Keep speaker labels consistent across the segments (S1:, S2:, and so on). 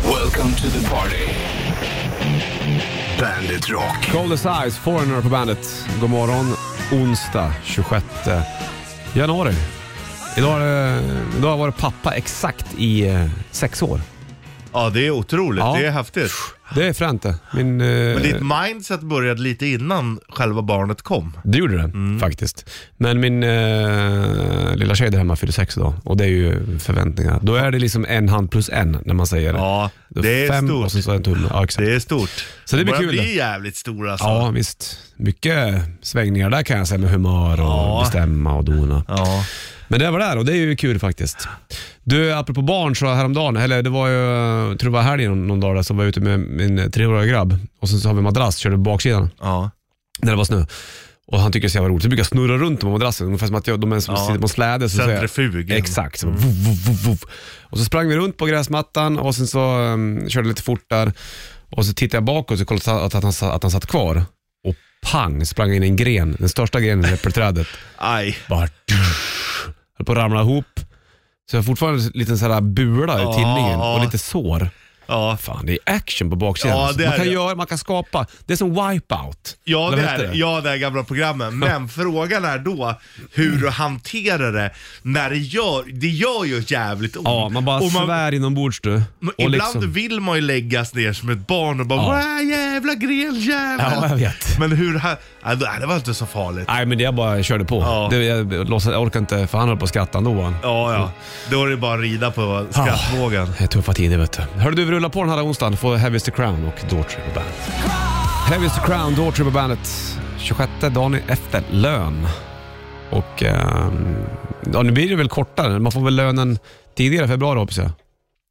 S1: Welcome to the party. Bandit Rock.
S2: Coldest Eyes, Foreigner på bandet. God morgon, onsdag 26 januari. Idag, är det, idag var det pappa exakt i eh, sex år.
S3: Ja, det är otroligt.
S2: Ja.
S3: Det är häftigt.
S2: Det är fränt det. Min, eh,
S3: Men ditt mindset började lite innan själva barnet kom.
S2: Det gjorde det
S3: Mm.
S2: faktiskt. Men min eh, lilla tjej där hemma fyller sex idag och det är ju förväntningar. Då är det liksom en hand plus en när man säger
S3: Ja,
S2: det.
S3: det är
S2: Fem
S3: stort.
S2: och sen så en tumme. Ja, exakt.
S3: Det är stort.
S2: Så det blir
S3: Börjar
S2: kul.
S3: bli jävligt stor alltså.
S2: Ja, visst. Mycket svängningar där kan jag säga med humör och
S3: Ja.
S2: bestämma och dona.
S3: Ja.
S2: Men det var där och det är ju kul faktiskt. Du, apropå barn så häromdagen, eller det var ju, jag tror det var helgen någon- någon dag där, så var jag ute med min treåriga grabb och sen så har vi madrass, körde på baksidan
S3: ja.
S2: när det var snö. Och han tycker det är så jävla roligt. Så brukar jag snurra runt på madrassen, ungefär som att jag, de är som
S3: Ja.
S2: sitter på en släde. Så säger jag-
S3: Centrifugen. Mm.
S2: Exakt. Så, vov, vov, vov, vov. Och så sprang vi runt på gräsmattan och sen så um, körde lite fort där. Och så tittade jag bakåt och kollade att, att, han, sa- att han satt kvar. Och pang, sprang jag in i en gren, den största grenen i äppelträdet.
S3: Aj.
S2: Bara Höll på att ramla ihop. Så jag har fortfarande en liten sån här bula i
S3: Ja,
S2: tinningen
S3: ja.
S2: och lite sår.
S3: Ja,
S2: Fan, det är action på baksidan.
S3: Ja,
S2: alltså.
S3: det
S2: man
S3: är
S2: kan
S3: det.
S2: göra, man kan skapa. Det är som wipeout.
S3: Ja
S2: Eller
S3: det,
S2: vad heter
S3: är, ja, det är gamla programmen. Men frågan är då hur du hanterar det när det gör, det gör ju jävligt ont.
S2: Ja, man bara
S3: Och man-
S2: svär inombords du.
S3: Men
S2: Och
S3: Ibland
S2: liksom-
S3: vill man ju läggas ner som ett barn och bara
S2: Ja.
S3: "Wah, jävla greljävel.
S2: Ja, jag vet.
S3: Men hur... Ha, ja, det var inte så farligt.
S2: Nej, men det jag bara körde på.
S3: Ja.
S2: Det, jag, låtsas- jag orkar inte, för han höll på att skratta ändå. Han.
S3: Ja, ja. Då är det bara att rida på
S2: Ah.
S3: skrattvågen.
S2: Det är tuffa tider vet du. Hörru du, vi rullar på den här onsdagen. Får Heavy's the Crown och Daughtry på bandet. Heavy's the Crown, Daughtry på bandet. 26 dagen efter lön. Och ehm, ja, nu blir det väl kortare. Man får väl lönen tidigare i februari hoppas jag.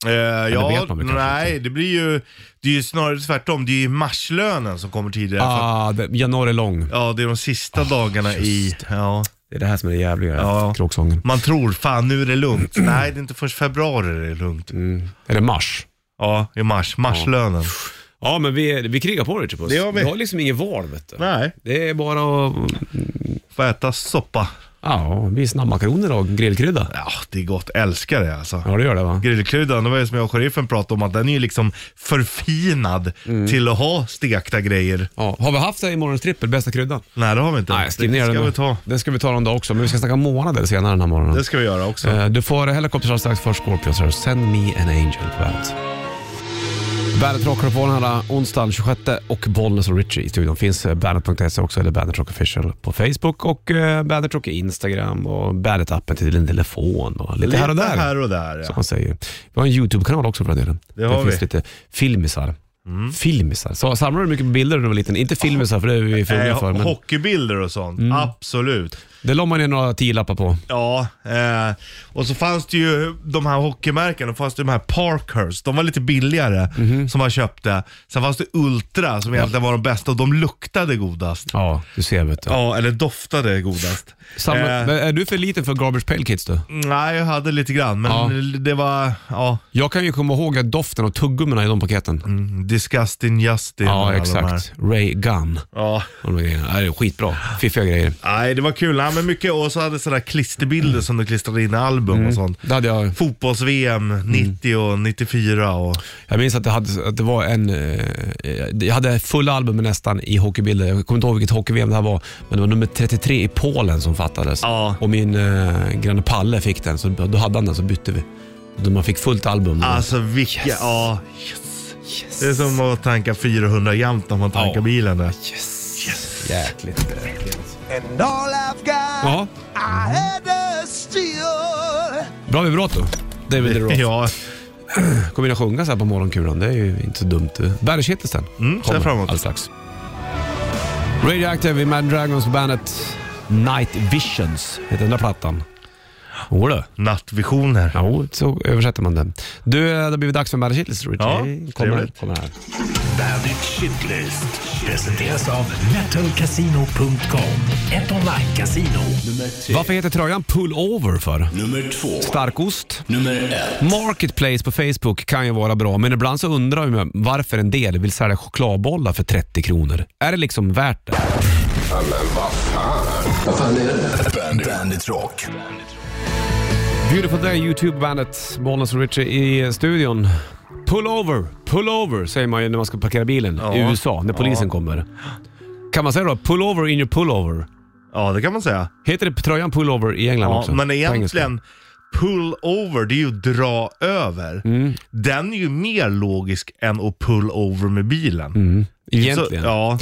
S3: Eh, ja,
S2: vet man väl kanske
S3: nej, det blir ju... Det är ju snarare tvärtom. Det är ju marslönen som kommer tidigare. för att-
S2: Ah, det, januari är lång.
S3: Ja, det är de sista dagarna i... Ja.
S2: Det är det här som är det jävliga.
S3: Ja.
S2: Kråksången.
S3: Man tror fan nu är det lugnt.
S2: Mm.
S3: nej, det är inte först februari det är lugnt.
S2: Är det mars?
S3: Ja, i mars. Marslönen.
S2: Ah. Ja, men vi, vi krigar på det Richard Puss.
S3: Det gör vi.
S2: Vi har liksom inget val vet du.
S3: Nej.
S2: Det är bara att
S3: Får äta soppa.
S2: Ja, vi är snabbmakaroner och grillkrydda.
S3: Ja, det är gott. Älskar det alltså.
S2: Ja, det gör det va?
S3: Grillkryddan, det var ju som jag och sheriffen pratade om, att den är ju liksom förfinad
S2: Mm.
S3: till att ha stekta grejer.
S2: Ja. Har vi haft det i morgons trippel, bästa kryddan?
S3: Nej, det har vi inte.
S2: Nej, skriv ner
S3: det
S2: den
S3: ska
S2: nu.
S3: vi ta.
S2: Den ska vi ta någon dag också, men vi ska snacka månader senare den här morgonen.
S3: Det ska vi göra också.
S2: Eh, Du får Helicopters alldeles strax, först Scorpions här. Send me an angel på bandet. Bandet Rock på den här onsdagen 26 och Bollnäs och Richie i studion. Finns eh, bandet.se också eller Bandet Rock Official på Facebook och eh, Bandet Rock i Instagram och Bandet-appen till din telefon och lite, här och där.
S3: här och där
S2: som
S3: ja.
S2: man säger. Vi har en YouTube-kanal också för den delen.
S3: Det har
S2: Där finns
S3: vi. Mm.
S2: lite filmisar. Filmisar. Så, samlar du mycket på bilder när du var liten? Inte filmisar för det är vi för unga
S3: Eh,
S2: för. Men Mm.
S3: hockeybilder och sånt, absolut.
S2: det la man ner några tiolappar på.
S3: Ja, eh, och så fanns det ju de här hockeymärkena, då fanns det de här Parkers, de var lite billigare
S2: Mhm.
S3: som man köpte. Sen fanns det Ultra som egentligen var de bästa och de luktade godast.
S2: Ja, du ser vet du.
S3: Ja, eller doftade godast.
S2: Samla,
S3: Eh.
S2: men Är du för liten för Garbage Pail Kids du?
S3: Nej, jag hade lite grann, men
S2: Ja.
S3: det var, ja,
S2: Jag kan ju komma ihåg att doften av tuggummina i de paketen.
S3: mm, Disgusting Justin och
S2: ja,
S3: alla de här.
S2: exakt. Ray Gun.
S3: Ja,
S2: Och de här grejerna. Ja, det är skitbra. Fiffiga grejer.
S3: nej det var kul. Nej, men mycket, och så hade sådana klisterbilder som du klistrade in i album och sånt.
S2: Det hade jag Mm.
S3: Fotbolls-VM 90 och 94 och...
S2: Jag minns att det, hade, att det var en... Eh, jag hade fulla albumet nästan i hockeybilder. Jag kommer inte ihåg vilket hockey-VM det här var, men det var nummer 33 i Polen som fattades.
S3: Ja.
S2: Och min eh, granne Palle fick den, så då hade han den så bytte vi. Då Man fick fullt album.
S3: Alltså vilka...
S2: Yes.
S3: Ja, det är som att tanka 400 jämt om man tankar
S2: Ja.
S3: bilen där.
S2: Jäkligt.
S4: And all I've got,
S2: Ja,
S4: I had to steal.
S2: bra vibrato. David Lee Roth.
S3: Ja,
S2: Kommer in och sjunga så här på morgonkulan. Det är ju inte så dumt. Bandagehitlisten
S3: Mm, ser jag fram emot.
S2: alldeles strax. Radioactive i Mad Dragons på bandet Night Visions heter den där plattan. Jodå.
S3: nattvisioner.
S2: Jo, så översätter man den. Du, eh, det har blivit dags för Madde Kittles, Richie.
S3: Ja,
S2: kommer,
S3: trevligt.
S2: kommer här.
S1: Bandit Shitlist presenteras av metalcasino.com. Ett online-casino. Nummer tre.
S2: Varför heter tröjan Pullover för?
S1: Nummer två.
S2: Starkost?
S1: Nummer ett.
S2: Marketplace på Facebook kan ju vara bra, men ibland så undrar jag varför en del vill sälja chokladbollar för 30 kronor. Är det liksom värt det?
S1: Bandit, Bandit Rock.
S2: Beautiful Day, YouTube-bandet Bollnäs och Richie i studion. Pull over, pull over säger man ju när man ska parkera bilen
S3: Ja.
S2: i USA, när polisen
S3: Ja.
S2: kommer. Kan man säga då pull over in your pullover?
S3: Ja, det kan man säga.
S2: Heter det på tröjan pull over i England
S3: Ja,
S2: också?
S3: men
S2: På engelska.
S3: egentligen, pull over, det är ju dra över.
S2: Mm.
S3: Den är ju mer logisk än att pull over med bilen.
S2: Mm. Egentligen.
S3: Så, ja,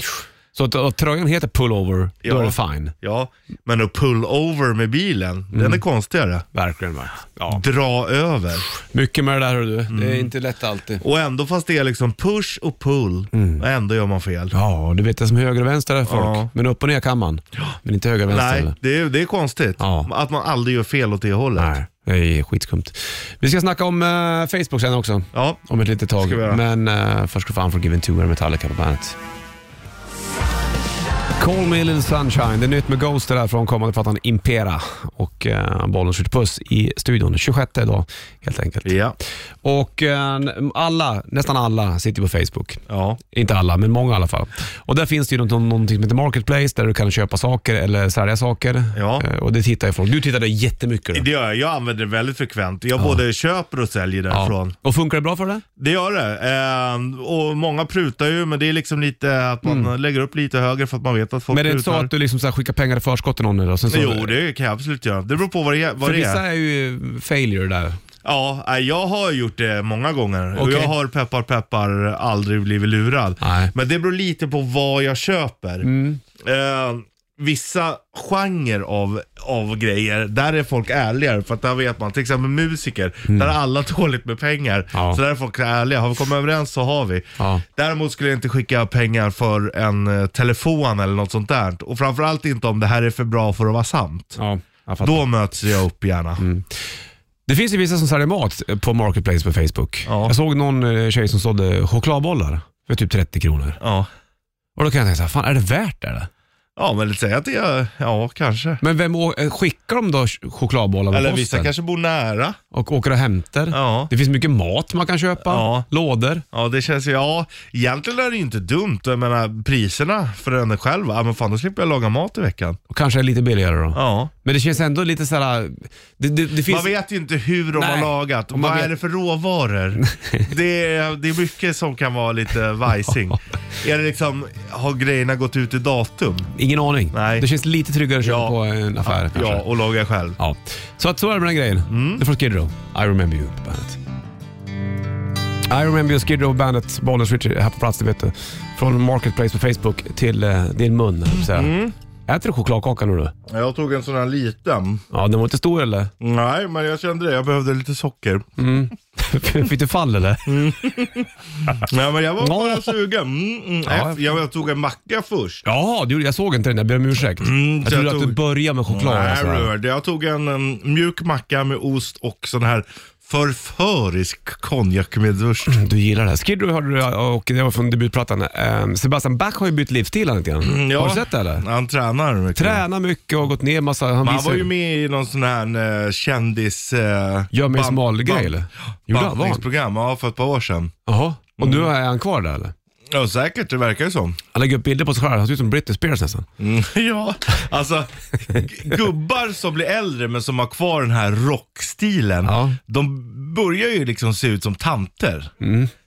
S2: Så att, att tröjan heter pullover,
S3: Ja.
S2: då är det fine.
S3: ja, men att pull over med bilen, den är konstigare.
S2: Verkligen.
S3: Mm.
S2: va? Mm. Ja.
S3: Dra över.
S2: Mycket med det där hör du. Det
S3: Mm.
S2: är inte lätt alltid.
S3: Och ändå fast det är liksom push och pull, ändå gör man fel.
S2: Mm. Ja, du vet det är som höger och vänster är folk.
S3: Ja.
S2: Men upp och ner kan man. Men inte höger och vänster.
S3: Nej,
S2: eller?
S3: det är, det är konstigt.
S2: Ja.
S3: Att man aldrig gör fel åt det hållet.
S2: Nej, det är skitskumt. Vi ska snacka om eh, Facebook sen också.
S3: Ja.
S2: Om ett litet tag.
S3: Ska vi göra.
S2: Men eh, först ska du få Unforgiven 2 med Metallica på bandet. Call me little sunshine. Det är nytt med Ghost det där från kommande plattan Impera. Och eh, bollen skjuter puss i studion 26 idag helt enkelt.
S3: Ja.
S2: Och eh, alla, nästan alla sitter på Facebook.
S3: ja.
S2: Inte alla, men många i alla fall. Och där finns det ju något- någonting som heter Marketplace där du kan köpa saker eller sälja saker.
S3: Ja.
S2: Eh, Och det tittar ju folk. Du tittar där jättemycket. då.
S3: Det gör jag. Jag använder det väldigt frekvent. Jag både köper och säljer därifrån.
S2: Och funkar det bra för dig?
S3: Det gör det. Eh, och många prutar ju, men det är liksom lite att man lägger upp lite högre för att man vet att folk
S2: Mm. Men det är inte så
S3: prutar.
S2: att du liksom så här skickar pengar i förskott till någon? Eller? Sen så,
S3: Jo, det kan jag absolut göra. Det beror på vad det är. Vad
S2: För
S3: det
S2: vissa
S3: är.
S2: är ju failure där.
S3: Ja, nej, jag har gjort det många gånger. Och
S2: Okej.
S3: jag har peppar peppar aldrig blivit lurad.
S2: Nej.
S3: Men det beror lite på vad jag köper.
S2: Mm.
S3: Eh, vissa genrer av, av grejer, där är folk ärligare. För att där vet man, till exempel musiker, där är alla dåligt med pengar.
S2: Mm. Ja.
S3: Så där är folk ärliga. Har vi kommit överens så har vi.
S2: Ja.
S3: Däremot skulle jag inte skicka pengar för en eh, telefon eller något sånt där. Och framförallt inte om det här är för bra för att vara sant.
S2: Ja, Mm. jag fattar.
S3: Då möts jag upp gärna.
S2: Det finns ju vissa som säljer mat på Marketplace på Facebook.
S3: Ja.
S2: Jag såg någon eh, tjej som sålde chokladbollar för typ 30 kronor.
S3: Ja.
S2: Och då kan jag tänka så här, fan är det värt det eller?
S3: Ja, men säg att det är, ja kanske.
S2: Men vem å- eh, skickar de då ch- chokladbollar med
S3: Eller
S2: posten?
S3: vissa kanske bor nära.
S2: Och åker och hämtar?
S3: Ja.
S2: Det finns mycket mat man kan köpa,
S3: Ja.
S2: lådor.
S3: Ja, det känns ju, ja, egentligen är det ju inte dumt. Jag menar priserna för en själv, ja men fan då slipper jag laga mat i veckan.
S2: Och kanske är lite billigare då.
S3: Ja.
S2: Men det känns ändå lite såhär... Det, det, det finns...
S3: Man vet ju inte hur de
S2: Nej.
S3: har lagat.
S2: Och man
S3: Vad
S2: vet-
S3: är det för råvaror? det, är, det är mycket som kan vara lite vajsing. är det liksom, har grejerna gått ut i datum?
S2: Ingen aning.
S3: Nej.
S2: Det känns lite tryggare att köpa
S3: Ja.
S2: på en affär kanske.
S3: Ja, Mm. och laga själv.
S2: Ja. Så att så är det med den grejen. Det får Skid Row. I remember you på bandet. I remember you, Skid Row, bandet, Bollnäs Richie här på plats, det vet du. Från Marketplace på Facebook till eh, din mun, mm. Äter du chokladkaka nu du?
S3: Jag tog en sån här liten.
S2: Ja, den var inte stor eller?
S3: Nej, men jag kände det. Jag behövde lite
S2: Mm.
S3: socker.
S2: Fick du fall eller?
S3: Nej, men jag var
S2: Ja.
S3: bara sugen. Mm, mm.
S2: Ja.
S3: Efter- Jag, jag tog en macka först.
S2: Ja, du, jag såg inte den. Jag ber om ursäkt. jag
S3: så Mm, jag
S2: trodde att du
S3: tog-
S2: började med choklad. alltså. och
S3: Nej,
S2: sådär.
S3: Robert, jag tog en, en mjuk macka med ost och sån här förförisk konjak med durst.
S2: Du gillar det här. Skid Row hörde du och det var från debutplattan. Eh, Sebastian Bach har ju bytt livsstil här lite grann.
S3: Mm, Ja.
S2: Har du sett det eller?
S3: Han tränar mycket.
S2: Tränar mycket och gått ner massa. Han
S3: Men han
S2: visar
S3: var
S2: ju-
S3: ju med i någon sån här eh, kändis... Eh,
S2: Gör mig
S3: band-
S2: smal-grej
S3: band-
S2: eller? Gjorde han? Var han?
S3: Bantningsprogram, ja för ett par år sedan.
S2: Jaha, och nu
S3: Mm.
S2: är han kvar där eller?
S3: Ja säkert, det verkar ju så.
S2: Han lägger upp bilder på sig själv, han ser ut som Britney Spears nästan.
S3: Mm, ja, alltså g- gubbar som blir äldre men som har kvar den här rockstilen.
S2: Ja.
S3: De börjar ju liksom se ut som tanter.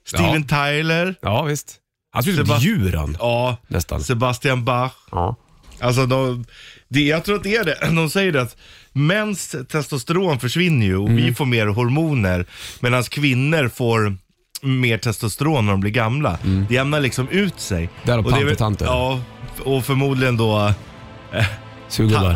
S3: Steven Tyler,
S2: Mm. Ja visst. Han ser ut som
S3: Sebast-
S2: ett djur han.
S3: ja,
S2: Nästan.
S3: Sebastian Bach.
S2: Ja.
S3: Alltså de, det, jag tror att det är det. De säger det att mäns testosteron försvinner ju och
S2: Mm.
S3: vi får mer hormoner. Medan kvinnor får mer testosteron när de blir gamla.
S2: Mm.
S3: Det jämnar liksom ut sig.
S2: Därav
S3: Och det är väl-
S2: pantertanter.
S3: Ja, och förmodligen då ta,
S2: Sugubbar.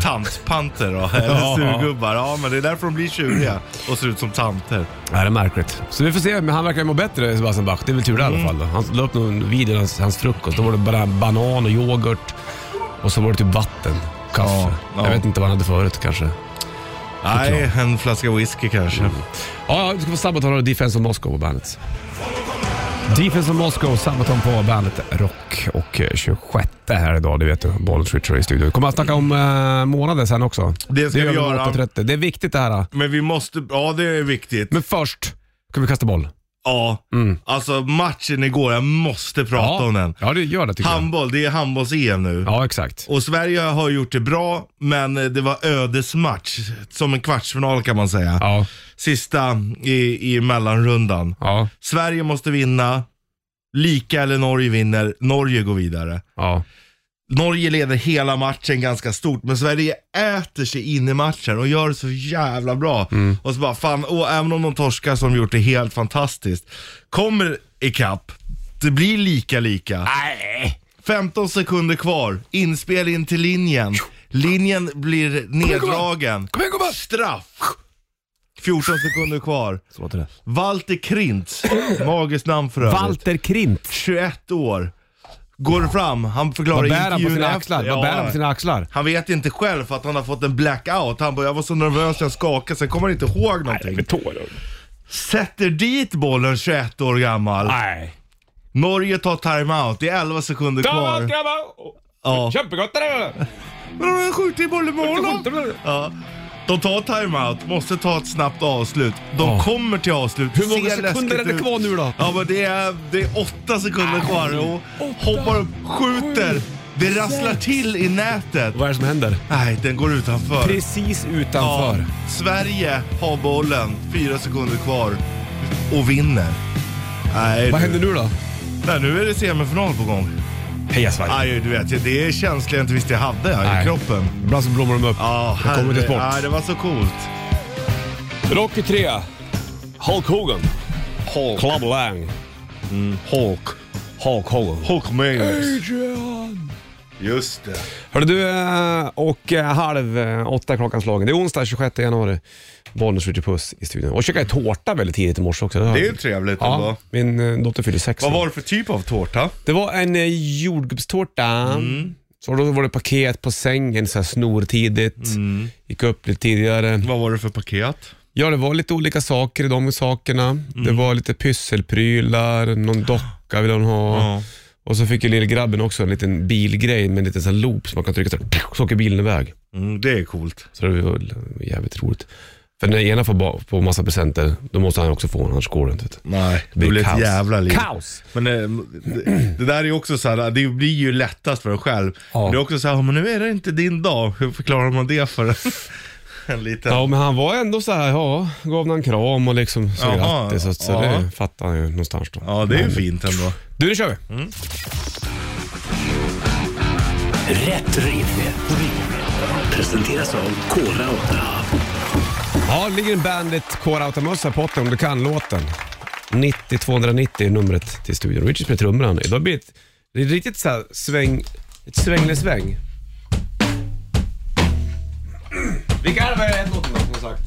S3: tantpanter då, eller
S2: Ja.
S3: surgubbar. Ja, men det är därför de blir tjuriga och ser ut som tanter.
S2: Ja, det är märkligt. Så vi får se, men han verkar ju må bättre Sebastian Bach. Det är väl tur det i alla
S3: Mm.
S2: fall. då. Han la upp någon video av hans, hans frukost. Då var det bara banan och yoghurt. Och så var det typ vatten, kaffe.
S3: Ja, ja.
S2: Jag vet inte vad han hade förut kanske.
S3: Nej, en flaska whisky kanske.
S2: Mm. Ja, ja, vi ska få Sabaton och Defense of Moscow på bandet. Defense of Moscow, Sabaton på bandet Rock och eh, 26 här idag, det vet du. Bollens Richard i studion. Vi kommer att snacka om eh, månaden sen också.
S3: Det ska
S2: gör
S3: vi
S2: om
S3: göra.
S2: 8.30. Det är viktigt det här.
S3: Men vi måste, ja det är viktigt.
S2: Men först ska vi kasta boll.
S3: Ja, alltså matchen igår, jag måste prata om den.
S2: Mm. ja, det gör det tycker jag.
S3: Handboll, det är handbolls-EM nu.
S2: Ja, exakt.
S3: Och Sverige har gjort det bra, men eh, det var ödesmatch. Som en kvartsfinal kan man säga.
S2: Ja,
S3: Sista i, i mellanrundan.
S2: ja,
S3: Sverige måste vinna. Lika eller Norge vinner. Norge går vidare.
S2: ja.
S3: Norge leder hela matchen ganska stort, men Sverige äter sig in i matchen och gör det så jävla bra.
S2: Mm.
S3: Och så bara, fan, och även om de torskar som gjort det helt fantastiskt, kommer ikapp, det blir lika lika.
S2: Nej!
S3: 15 sekunder kvar, inspel in till linjen. Linjen blir neddragen.
S2: Kom igen gumman!
S3: Straff! 14 sekunder kvar.
S2: Så låter det.
S3: Walter Krintz, magiskt namn för övrigt.
S2: Walter Krint.
S3: 21 år. Går fram, han förklarar
S2: Vad
S3: i
S2: bär han på
S3: intervjun
S2: sina
S3: efter-
S2: axlar?
S3: Ja.
S2: Vad bär han på sina axlar?
S3: Han vet inte själv för att han har fått en blackout. Han bara, jag var så nervös jag skakade, sen kommer han inte ihåg någonting.
S2: tårar.
S3: Sätter dit bollen 21 år gammal.
S2: Nej.
S3: Norge tar timeout, det är 11 sekunder kvar. Ja.
S2: Kämpegott det där!
S3: Men de har skjutit i bollen med honom. Ja. De tar timeout, måste ta ett snabbt avslut. De
S2: Ja.
S3: kommer till avslut.
S2: Hur många
S3: ser
S2: sekunder är
S3: läskigt
S2: det
S3: ut.
S2: kvar nu då?
S3: Ja men det är, det är åtta sekunder kvar. Och
S2: åtta,
S3: hoppar upp, skjuter.
S2: sju,
S3: Det rasslar till i nätet.
S2: Vad är det som händer?
S3: Nej, den går utanför.
S2: Precis
S3: Ja,
S2: utanför.
S3: Sverige har bollen, fyra sekunder kvar och vinner. Nej,
S2: Vad händer nu då?
S3: Nej, nu är det semifinal på gång.
S2: Heja Sverige!
S3: Aj, du vet, det är känslor jag inte visste jag hade här
S2: Nej.
S3: i kroppen.
S2: Ibland så blommar de upp.
S3: Ja,
S2: det kommer till sport.
S3: Ja, det var så coolt.
S2: Rocky 3. Hulk Hogan.
S3: Hulk. Mm.
S2: Club Lang.
S3: Hulk.
S2: Hulk Hogan.
S3: Hulk Magnus.
S2: Adrian.
S3: Just det.
S2: Hörru du, eh, och eh, halv eh, åtta är klockan slagen. Det är onsdag 26 januari. Bollnäs Ritchie Puss i studion. Och käkade tårta väldigt tidigt i morse också. har
S3: Det är
S2: jag.
S3: ju trevligt
S2: Ja,
S3: ändå.
S2: min eh, dotter fyllde sex.
S3: Vad
S2: nu.
S3: var det för typ av tårta?
S2: Det var en eh, jordgubbstårta.
S3: Mm.
S2: Så då var det paket på sängen så här snortidigt.
S3: Mm.
S2: Gick upp lite tidigare.
S3: Vad var det för paket?
S2: Ja, det var lite olika saker i de sakerna.
S3: Mm.
S2: Det var lite pysselprylar, någon docka ville hon ha.
S3: Ah. Ja.
S2: Och så fick ju lillgrabben också en liten bilgrej med en liten sån här loop som man kan trycka så här, så åker bilen iväg.
S3: Mm, det är coolt.
S2: Så det var jävligt roligt. För när den ena får ba- får massa presenter, då måste han också få en, annars går det inte. vet du.
S3: Nej, det blir ett
S2: kaos.
S3: jävla liv.
S2: Kaos!
S3: Men eh, det, det där är ju också så här, det blir ju lättast för en själv.
S2: Ja.
S3: Men Det är också så här, men nu är det inte din dag. Hur förklarar man det för en, en liten?
S2: Ja, men han var ändå så här, ja, gav någon kram och liksom så
S3: Jaha,
S2: grattis. Så, så
S3: ja.
S2: det fattar han ju någonstans då.
S3: Ja, det är ju
S2: Men-
S3: fint ändå.
S2: Du, nu kör vi!
S1: Rätt riff. Presenteras av Kora 8.
S2: Ja, det ligger en Bandit Core Automössa på potten om du kan låten. 90-290 är numret till studion. Richard spelar trummorna nu. Det har blivit det är riktigt så här sväng, ett sväng. Vilka är det här låten då, som sagt?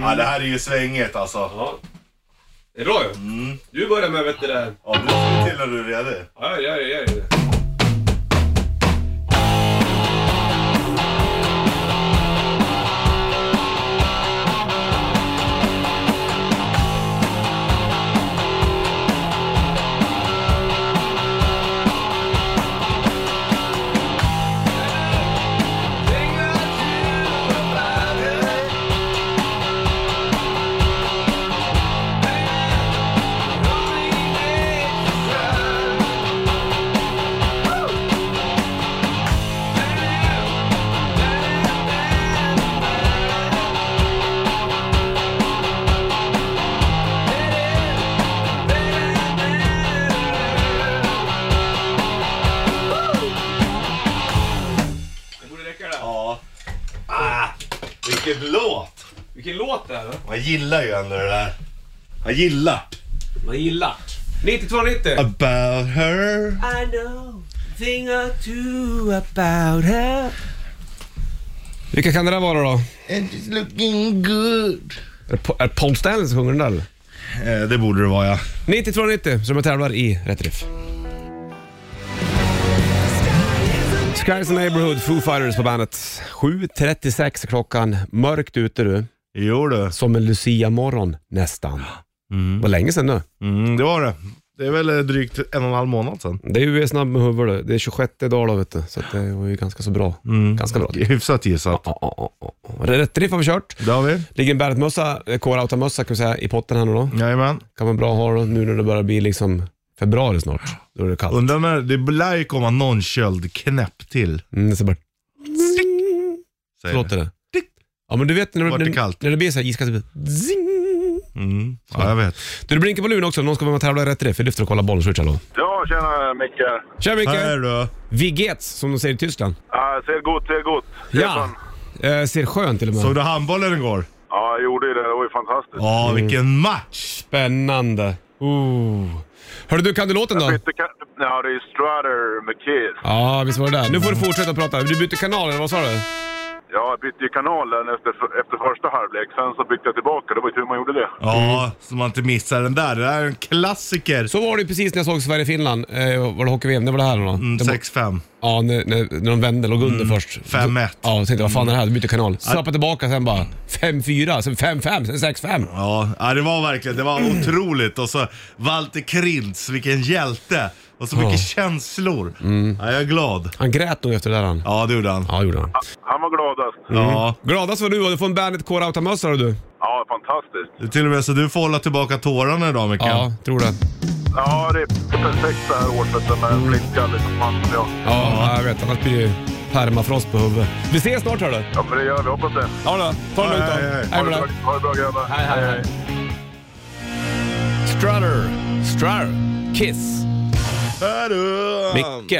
S3: Ja, det här är ju svänget alltså. Ja,
S2: Det är bra ju. Du börjar med vet du det där.
S3: du slår till när du är redo.
S2: Ja, ja, ja, ja. Det borde räcka där.
S3: Ja. Ah, vilket låt!
S2: Vilken låt det här då?
S3: Man gillar ju ändå det där. Man gillar.
S2: Man gillar. 9290.
S3: About her.
S5: I know a thing or two about her.
S2: Vilka kan det där vara då?
S3: And she's looking good.
S2: Är det Pa- Är det Paul Stanley som sjunger den där eller?
S3: Eh, det borde det vara ja.
S2: 9290 som jag tävlar i Rätt Riff. Skies and Neighborhood, Foo Fighters på bandet. 7.36 är klockan, mörkt ute du.
S3: Jo du.
S2: Som en Lucia-morgon nästan. Var länge sedan nu.
S3: Mm, det var det. Det är väl eh, drygt en och en halv månad sedan.
S2: Det är ju snabb med huvudet. Det är 26 dagar vet du. Så att det var ju ganska så bra. Ganska bra.
S3: Mm. Hyfsat gissat.
S2: Ja, ja, ja, ja. Rätt riff har vi kört.
S3: Det har vi.
S2: Ligger en Bandet-mössa, eh, Core-Auta-mössa kan vi säga, i potten här nu då.
S3: Jajamän.
S2: Kan vara bra att ha då, nu när det börjar bli liksom februari snart. Då är det kallt.
S3: Undrar när, det lär ju komma någon köldknäpp till.
S2: Mm, så bara,
S3: säger
S2: låter det. Ja men du vet när,
S3: Vart det
S2: när,
S3: kallt?
S2: när det blir så här iskallt, så blir det zing.
S3: det. Mm. Ja, jag vet.
S2: Du, det blinkar på luren också. Någon ska vara med och tävla i rätt riff. Vi lyfter och kollar bollswitch hallå.
S6: Ja, tjena Micke.
S2: Tja
S3: Här
S2: Micke!
S3: då.
S2: Vigets, som de säger i Tyskland.
S6: Ja, ser gott, ser gott.
S2: Ja. Eh, ser skön till och med.
S3: Såg du handbollen igår?
S6: Ja, jag gjorde ju det. Det var ju fantastiskt.
S3: Ja, vilken match!
S2: Spännande. Ooh. Hörru du, kan du låten då?
S6: Ytterka- Ja, det är Strutter med Kiss.
S2: Ja, visst var det där. Nu får du fortsätta prata. Du bytte kanal, eller vad sa du?
S6: Jag bytte ju kanal där efter, efter första halvlek. Sen så bytte jag tillbaka. Det var ju tur man gjorde det.
S3: Ja, så man inte missar den där. Det där är en klassiker.
S2: Mm. Så var det ju precis när jag såg Sverige-Finland. Eh, var det hockey-VM? Det var det här då?
S3: Mm,
S2: Det var-
S3: 6-5.
S2: Ja, när, när, när de vände, låg under först.
S3: 5-1.
S2: Ja, och tänkte vad fan är det här? Du bytte kanal. Slappade tillbaka sen bara 5-4, sen 5-5, sen 6-5.
S3: Ja, ja, det var verkligen, det var
S2: Mm.
S3: otroligt. Och så Walter Krintz, vilken hjälte. Och så mycket
S2: Ja. Mm.
S3: känslor. Ja, jag är glad.
S2: Han grät nog efter det där han.
S3: Ja, det gjorde han.
S2: Ja, gjorde han.
S6: Han var gladast.
S2: Mm.
S3: Ja,
S2: Gladast var du och du får en Bandet Core Autamössa hör du.
S6: Ja, fantastiskt.
S3: det är till och med så du får hålla tillbaka tårarna idag Micke.
S2: Ja, tror det.
S6: Ja, det är perfekt det här liksom, året vet du, med flintskallig som han som jag.
S2: Ja, jag vet. Annars blir det ju permafrost på huvudet. Vi ses snart hör du.
S6: Ja, men det gör vi. Hoppas det.
S2: Ja då, ta det lugnt
S3: Hej,
S2: då. Hej
S3: hej, hej.
S6: Ha det
S2: med dig.
S6: bra, ha det bra grabbar.
S2: Hej, hej, hej. Strutter, Strutter, Kiss,
S3: Här då.
S2: Micke.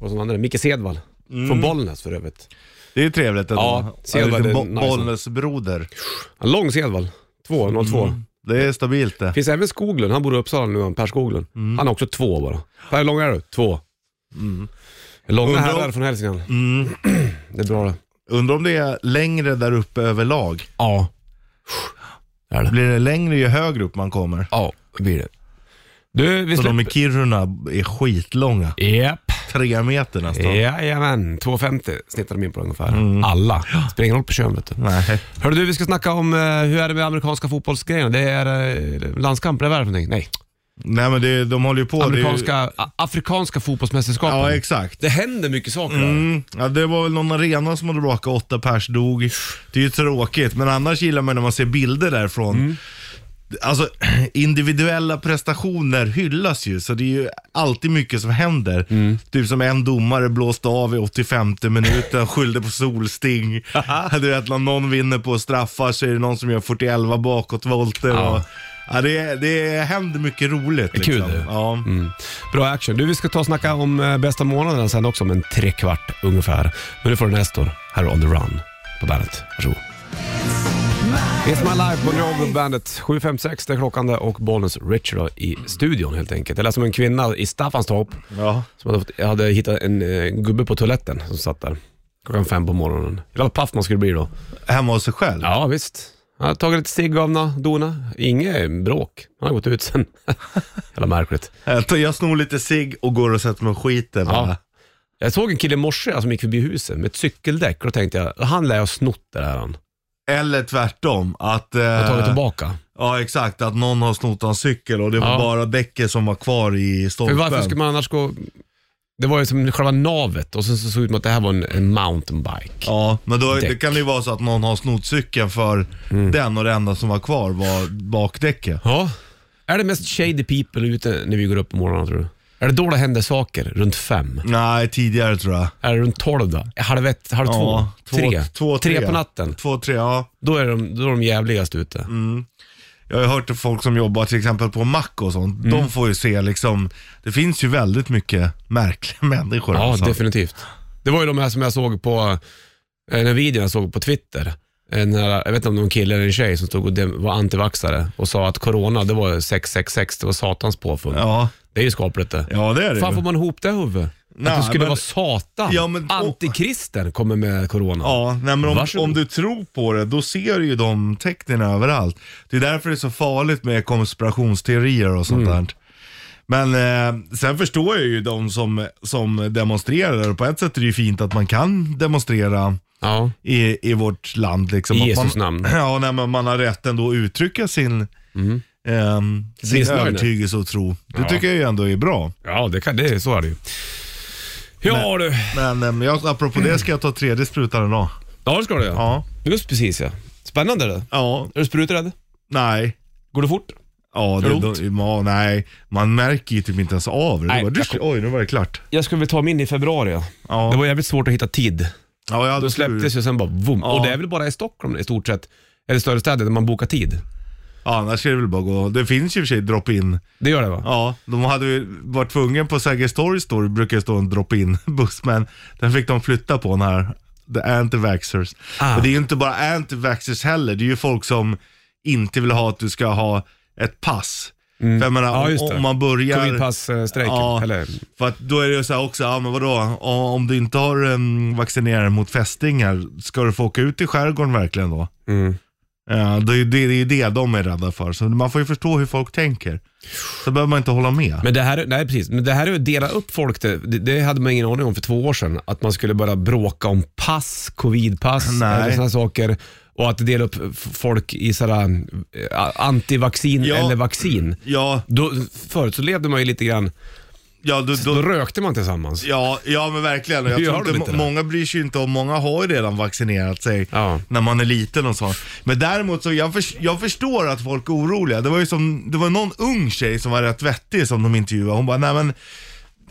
S2: Vad som andra, Micke Sedvall. Från Bollnäs för övrigt.
S3: Det är ju trevligt ändå.
S2: Ja,
S3: Ja,
S2: Sedvall
S3: lite
S2: är
S3: bo-
S2: nice.
S3: Bollnäsbroder.
S2: En lång Sedvall. 2, 02.
S3: Det är stabilt det.
S2: Finns även Skoglund, han bor i Uppsala nu, han Per Skoglund. Han har också två bara. Per, hur lång är du? Två. Mm. Långa
S3: Undrar-
S2: herrar från Hälsingland. Det är bra det.
S3: Undrar om det är längre där uppe överlag.
S2: Ja.
S3: Blir det längre ju högre upp man kommer?
S2: Ja, det blir det. Du, vi
S3: Så de i
S2: släpper...
S3: Kiruna är skitlånga.
S2: Japp.
S3: Tre meter nästan.
S2: Jajamän, 2,50 snittar de in på ungefär. Alla. Spelar ingen roll på kön vet du.
S3: Nej.
S2: Hörru du, vi ska snacka om eh, hur är det med amerikanska fotbollsgrejerna? Det är eh, landskamper, eller vad är det för någonting? Nej,
S3: Nej men det, de håller ju på.
S2: amerikanska,
S3: Det
S2: a- afrikanska
S3: är
S2: fotbollsmästerskapen.
S3: ju, ja exakt.
S2: Det händer mycket saker där.
S3: Mm. Ja, det var väl någon arena som hade bråkat, åtta pers dog. Det är ju tråkigt, men annars gillar man när man ser bilder därifrån.
S2: Mm.
S3: Alltså individuella prestationer hyllas ju, så det är ju alltid mycket som händer.
S2: Mm.
S3: Typ som en domare blåste av i 85 minuten, skyllde på solsting. du vet, när någon vinner på straffar så är det någon som gör 41 bakåtvolter.
S2: Ja.
S3: Och, ja, det, det händer mycket roligt.
S2: är Mm. kul
S3: liksom.
S2: det.
S3: Ja.
S2: Bra action. Du, vi ska ta och snacka om eh, bästa månaden sen också, om en trekvart ungefär. Men nu får du Nestor, här är On The Run på bandet. Varsågod. It's my life, Bon Jovi på bandet. 7.56, det är klockan det och Bollnäs Richard då i studion helt enkelt. Eller som en kvinna i Staffanstorp
S3: Ja.
S2: som hade, fått, hade hittat en eh, gubbe på toaletten som satt där klockan fem på morgonen. Jävla paff man skulle bli då.
S3: Hemma hos sig själv.
S2: Ja, visst. Han hade tagit lite cigg av nå- dona. Inget bråk. Han har gått ut sen. Jävla märkligt.
S3: Jag tar- Eh, Jag snor lite cigg och går och sätter mig och skiter bara.
S2: Ja. Jag såg en kille i morse alltså, som gick förbi huset med ett cykeldäck och då tänkte jag, han lär jag ha snott det där han.
S3: Eller tvärtom. Att, eh,
S2: Jag tar det tillbaka.
S3: Ja exakt, att någon har snott hans cykel och det var
S2: Ja.
S3: bara däcket som var kvar i
S2: För
S3: stolpen.
S2: varför skulle man annars gå... Det var ju som själva navet och sen så såg det ut som att det här var en, en mountainbike.
S3: Ja, men då, det
S2: Däck. Mm.
S3: kan ju vara så att någon har snott cykeln för den och det enda som var kvar var bakdäcket.
S2: Ja. Är det mest shady people ute när vi går upp på morgonen tror du? Är det då det händer saker? Runt fem?
S3: Nej, tidigare tror jag.
S2: Är det runt tolv då? Halv ett, halv två,
S3: Ja, två-
S2: tre.
S3: två,
S2: tre
S3: tre.
S2: på natten.
S3: Två, tre, ja.
S2: Då är de, då är de jävligast ute.
S3: Jag har ju hört att folk som jobbar till exempel på mack och sånt,
S2: Mm.
S3: de får ju se liksom, det finns ju väldigt mycket märkliga människor.
S2: Ja,
S3: alltså.
S2: definitivt. Det var ju de här som jag såg på, eh, den videon jag såg på Twitter. En, eh, jag vet inte om det var en kille eller en tjej som stod och dem- var antivaxare och sa att corona det var 666, det var satans påfund.
S3: ja.
S2: Det är ju skapligt det.
S3: ja, det är det
S2: Fan
S3: ju.
S2: får man ihop det huvud?
S3: Nej,
S2: Att det skulle
S3: men-
S2: vara satan?
S3: Ja, men-
S2: Antikristen kommer med corona.
S3: Ja, nej, men om,
S2: Varsågod.
S3: om du tror på det, då ser du ju de tecknen överallt. Det är därför det är så farligt med konspirationsteorier och sånt
S2: Mm.
S3: där. Men eh, sen förstår jag ju de som, som demonstrerar. På ett sätt är det ju fint att man kan demonstrera
S2: Ja.
S3: i, i vårt land. Liksom.
S2: I
S3: Att
S2: Jesus
S3: man,
S2: namn.
S3: Ja, nej, men man har rätt ändå att uttrycka sin ehm, sin
S2: Missnöjd.
S3: övertygelse och tro. Det
S2: Ja.
S3: tycker jag ju ändå är bra.
S2: Ja, det kan, det, så är det ju. Ja du.
S3: Men ehm, jag, apropå det ska jag ta tredje sprutan idag.
S2: Ja, det ska du ja.
S3: Ja.
S2: Just precis ja. Spännande du.
S3: Ja.
S2: Är du spruträdd?
S3: Nej.
S2: Går det fort?
S3: Ja,
S2: Gör
S3: det,
S2: det
S3: då,
S2: ont?
S3: ja, nej. Man märker ju typ inte ens av det.
S2: Nej,
S3: Nej, bara,
S2: jag
S3: dusch, oj, nu var det klart.
S2: Jag skulle väl ta min i februari. Ja.
S3: Ja.
S2: Det var jävligt svårt att hitta tid.
S3: Ja, jag hade
S2: Då
S3: tur.
S2: släpptes ju sen bara boom.
S3: Ja.
S2: Och det är väl bara i Stockholm i stort sett, eller större städer, där man bokar tid.
S3: Ja, annars är det väl bara att gå. Det finns ju i och för sig drop-in.
S2: Det gör det va?
S3: Ja, de hade ju varit tvungna på Sergels torg står, det brukar ju stå en drop-in buss, men den fick de flytta på den här. The anti-vaxxers.
S2: Ah.
S3: Och det är ju inte bara anti-vaxxers heller, det är ju folk som inte vill ha att du ska ha ett pass. För jag menar,
S2: Mm. Ja,
S3: om-
S2: just det.
S3: om man börjar...
S2: Covidpass-strejken,
S3: Ja,
S2: eller?
S3: för att då är det ju så här också, ja men vadå, Ja, om du inte har um, vaccinerat dig mot fästingar, ska du få åka ut i skärgården verkligen då?
S2: Mm.
S3: Ja, det, är ju- det, det är ju det de är rädda för, så man får ju förstå hur folk tänker. Så behöver man inte hålla med.
S2: Men det här, nej precis, men det här är att dela upp folk, det, det, det hade man ingen aning om för två år sedan. Att man skulle börja bråka om pass, covidpass
S3: Nej.
S2: eller sådana saker. Och att dela upp f- folk i sådär, eh, antivaccin
S3: Ja.
S2: eller vaccin.
S3: Ja,
S2: Då, förut så levde man ju lite grann,
S3: ja, då,
S2: då
S3: då,
S2: rökte man tillsammans.
S3: ja, ja men verkligen. Och Jag
S2: Gör
S3: tror
S2: de
S3: inte,
S2: inte
S3: må-
S2: det?
S3: många bryr sig ju inte om, många har ju redan vaccinerat sig
S2: Ja.
S3: när man är liten och sånt. Men däremot så, jag, förs- jag förstår att folk är oroliga. Det var ju som, det var någon ung tjej som var rätt vettig som de intervjuade. Hon bara, nej men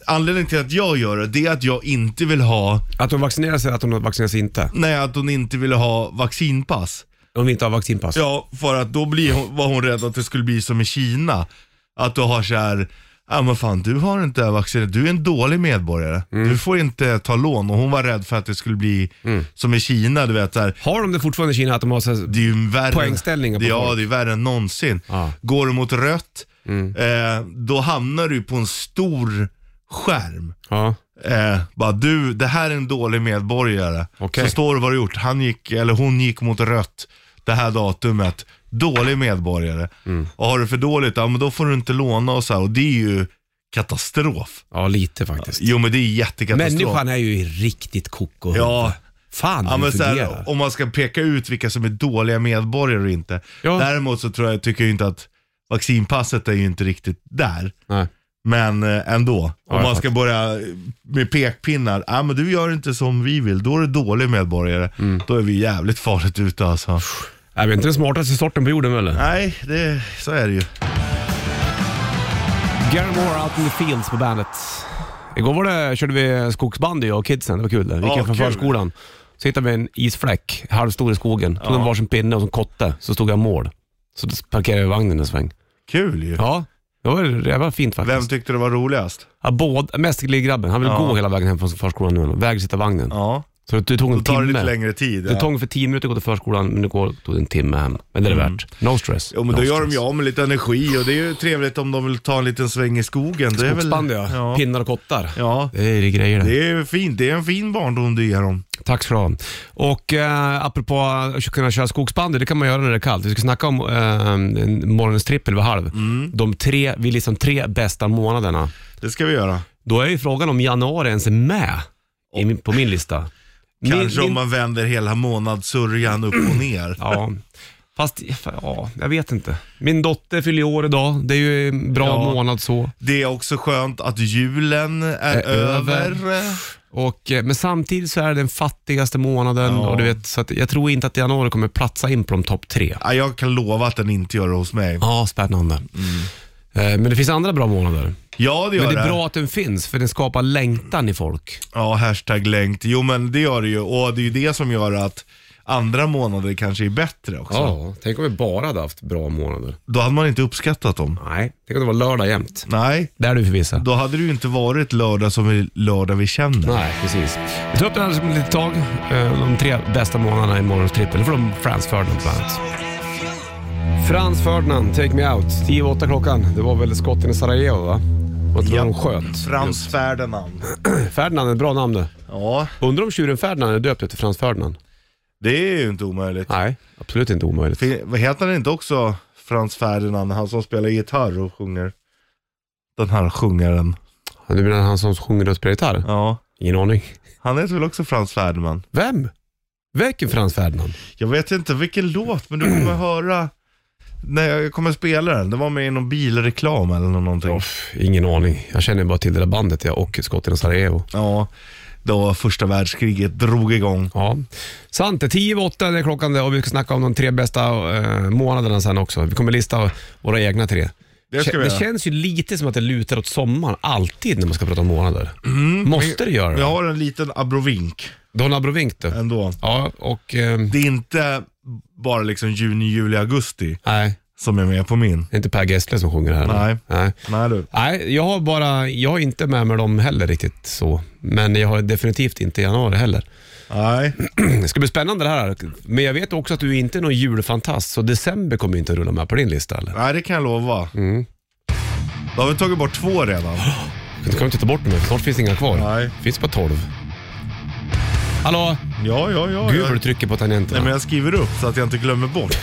S3: anledningen till att jag gör det, det är att jag inte vill ha,
S2: Att de vaccinerar sig, att de vaccinerar sig inte.
S3: nej att hon inte ville ha vaccinpass.
S2: Om vi inte har vaccinpass.
S3: Ja, för att då blir hon, var hon rädd att det skulle bli som i Kina. Att du har så här, ja men fan du har inte vaccinet, du är en dålig medborgare.
S2: Mm.
S3: Du får inte ta lån. Och hon var rädd för att det skulle bli som i Kina, du vet så här.
S2: Har de det fortfarande i Kina att de har så här,
S3: Det är ju värre,
S2: Poängställningar på
S3: Ja,
S2: folk.
S3: det är värre än någonsin.
S2: Ja. Mm.
S3: Går du mot rött, eh, då hamnar du på en stor skärm.
S2: ja.
S3: Eh, bara du, det här är en dålig medborgare.
S2: Okej.
S3: Så står det vad du gjort. Han gick, eller hon gick mot rött det här datumet. Dålig medborgare.
S2: Mm.
S3: Och har du för dåligt, ja men då får du inte låna och så här. Och det är ju katastrof.
S2: ja, lite faktiskt.
S3: Jo men det är jättekatastrof.
S2: Människan är ju riktigt koko.
S3: Ja.
S2: Fan
S3: Ja,
S2: hur
S3: men
S2: det
S3: så
S2: fungerar.
S3: här, om man ska peka ut vilka som är dåliga medborgare och inte.
S2: Ja.
S3: Däremot så tror jag, tycker jag inte att vaccinpasset är ju inte riktigt där.
S2: Nej.
S3: Men eh, ändå, om
S2: jag
S3: man
S2: fattar.
S3: ska börja med pekpinnar. Ja men du gör inte som vi vill, då är du dålig medborgare.
S2: Mm.
S3: Då är vi jävligt farligt ute alltså.
S2: Är vi inte den smartaste sorten på jorden eller?
S3: Nej, det, så är det ju.
S2: Gary Moore out in the fields på bandet. Igår var det, körde vi skogsbandy jag och kidsen, det var kul det. Vi gick
S3: Ja,
S2: hem från
S3: kul.
S2: förskolan. Så hittade vi en isfläck, halvstor i skogen. Tog en varsin pinne och en kotte, så stod jag och mål. Så då parkerade jag vagnen en sväng.
S3: Kul ju.
S2: Ja, det var, det var fint faktiskt.
S3: Vem tyckte det var roligast?
S2: Ja, båda, mest lillgrabben. Han vill
S3: Ja.
S2: gå hela vägen hem från förskolan nu. Väg sitta vagnen.
S3: Ja,
S2: Så det tog en
S3: då tar det lite
S2: timme.
S3: längre tid.
S2: Det
S3: ja. Mm.
S2: tog för tio minuter att gå till förskolan, men det går, tog det en timme hem. Men det är det värt. No stress.
S3: Jo men
S2: no
S3: då gör
S2: stress.
S3: de ju av med lite energi och det är ju trevligt om de vill ta en liten sväng i skogen. Det är väl-
S2: Skogsbandy ja. Pinnar och kottar.
S3: Ja,
S2: Det är det grejer det.
S3: Det är fint. Det är en fin barndom du ger dem.
S2: Tack ska du ha. Och eh, apropå att kunna köra skogsbandy, det kan man göra när det är kallt. Vi ska snacka om eh, morgonens trippel vid halv.
S3: Mm.
S2: De tre, vi liksom tre bästa månaderna.
S3: Det ska vi göra.
S2: Då är ju frågan om januari ens är med i, min- på min lista. Min-
S3: Kanske
S2: min-
S3: om man vänder hela månadssörjan upp och ner.
S2: Ja. Fast, ja, jag vet inte. Min dotter fyller ju år idag. Det är ju en bra
S3: Ja.
S2: månad så.
S3: Det är också skönt att julen är,
S2: Är över.
S3: över.
S2: Och, eh, men samtidigt så är det den fattigaste månaden
S3: Ja.
S2: och du vet, så att jag tror inte att januari kommer platsa in på de topp tre.
S3: Ja, jag kan lova att den inte gör det hos mig.
S2: Ja, spännande. Eh, Men det finns andra bra månader.
S3: Ja, det gör
S2: Men det
S3: det.
S2: är bra att den finns, för den skapar längtan i folk.
S3: Ja, hashtag längt. Jo, men det gör det ju. Och det är ju det som gör att andra månader kanske är bättre också.
S2: tänk om vi bara hade haft bra månader.
S3: Då hade man inte uppskattat dem.
S2: Nej, tänk om det var lördag jämt.
S3: Nej,
S2: Det är du för vissa.
S3: då hade det ju inte varit lördag som är lördag vi känner.
S2: Nej, precis. Vi tar upp den här som ett litet tag. Eh, De tre bästa månaderna i morgons trippel. Nu får de Frans Ferdinand bland annat. Frans Ferdinand, Take Me Out. 10-8 klockan. Det var väl skotten i Sarajevo va? Och inte
S3: Ja.
S2: de sköt.
S3: Frans Ferdinand.
S2: Ferdinand är ett bra namn det.
S3: Ja,
S2: Undrar om tjuren Ferdinand är döpt efter Frans Ferdinand?
S3: det är ju inte omöjligt.
S2: Nej, absolut inte omöjligt.
S3: Fin- Vad heter han inte också Frans Ferdinand, han som spelar gitarr och sjunger? Den här sjungaren.
S2: Du menar han som sjunger och spelar gitarr?
S3: Ja.
S2: Ingen aning.
S3: Han heter väl också Frans Ferdinand?
S2: Vem? Vilken Frans Ferdinand?
S3: Jag vet inte vilken låt, men du kommer höra när jag kommer spela den. Det var med i någon bilreklam eller någonting.
S2: Off, ingen aning. Jag känner ju bara till det där bandet ja, och skotten i Sarajevo.
S3: Ja, då första världskriget drog igång.
S2: Ja. Sant, det är tio över åtta det är klockan det, och vi ska snacka om de tre bästa eh, månaderna sen också. Vi kommer lista våra egna tre.
S3: Det ska vi
S2: det
S3: göra.
S2: känns ju lite som att det lutar åt sommaren alltid när man ska prata om månader.
S3: Mm,
S2: Måste det göra det?
S3: Jag har en liten abrovink
S2: Don Abrovink du.
S3: ändå.
S2: Ja, och... ehm,
S3: Det är inte bara liksom juni, juli, augusti
S2: nej,
S3: som är med på min.
S2: det är inte Per Gessle som sjunger här.
S3: Nej.
S2: nej.
S3: Nej du.
S2: Nej, jag har bara, jag har inte med mig dem heller riktigt så. Men jag har definitivt inte januari heller.
S3: Nej.
S2: Det ska bli spännande det här. Men jag vet också att du inte är någon julfantast, så december kommer inte att rulla med på din lista eller?
S3: Nej, det kan jag lova.
S2: Mm.
S3: Då har vi tagit bort två redan.
S2: Du kan ju inte ta bort dem nu, för snart finns det inga kvar.
S3: Nej.
S2: finns bara 12. Hallå!
S3: Ja, ja, ja.
S2: Gud
S3: jag...
S2: vad du trycker på tangenterna.
S3: Nej, men jag skriver upp så att jag inte glömmer bort.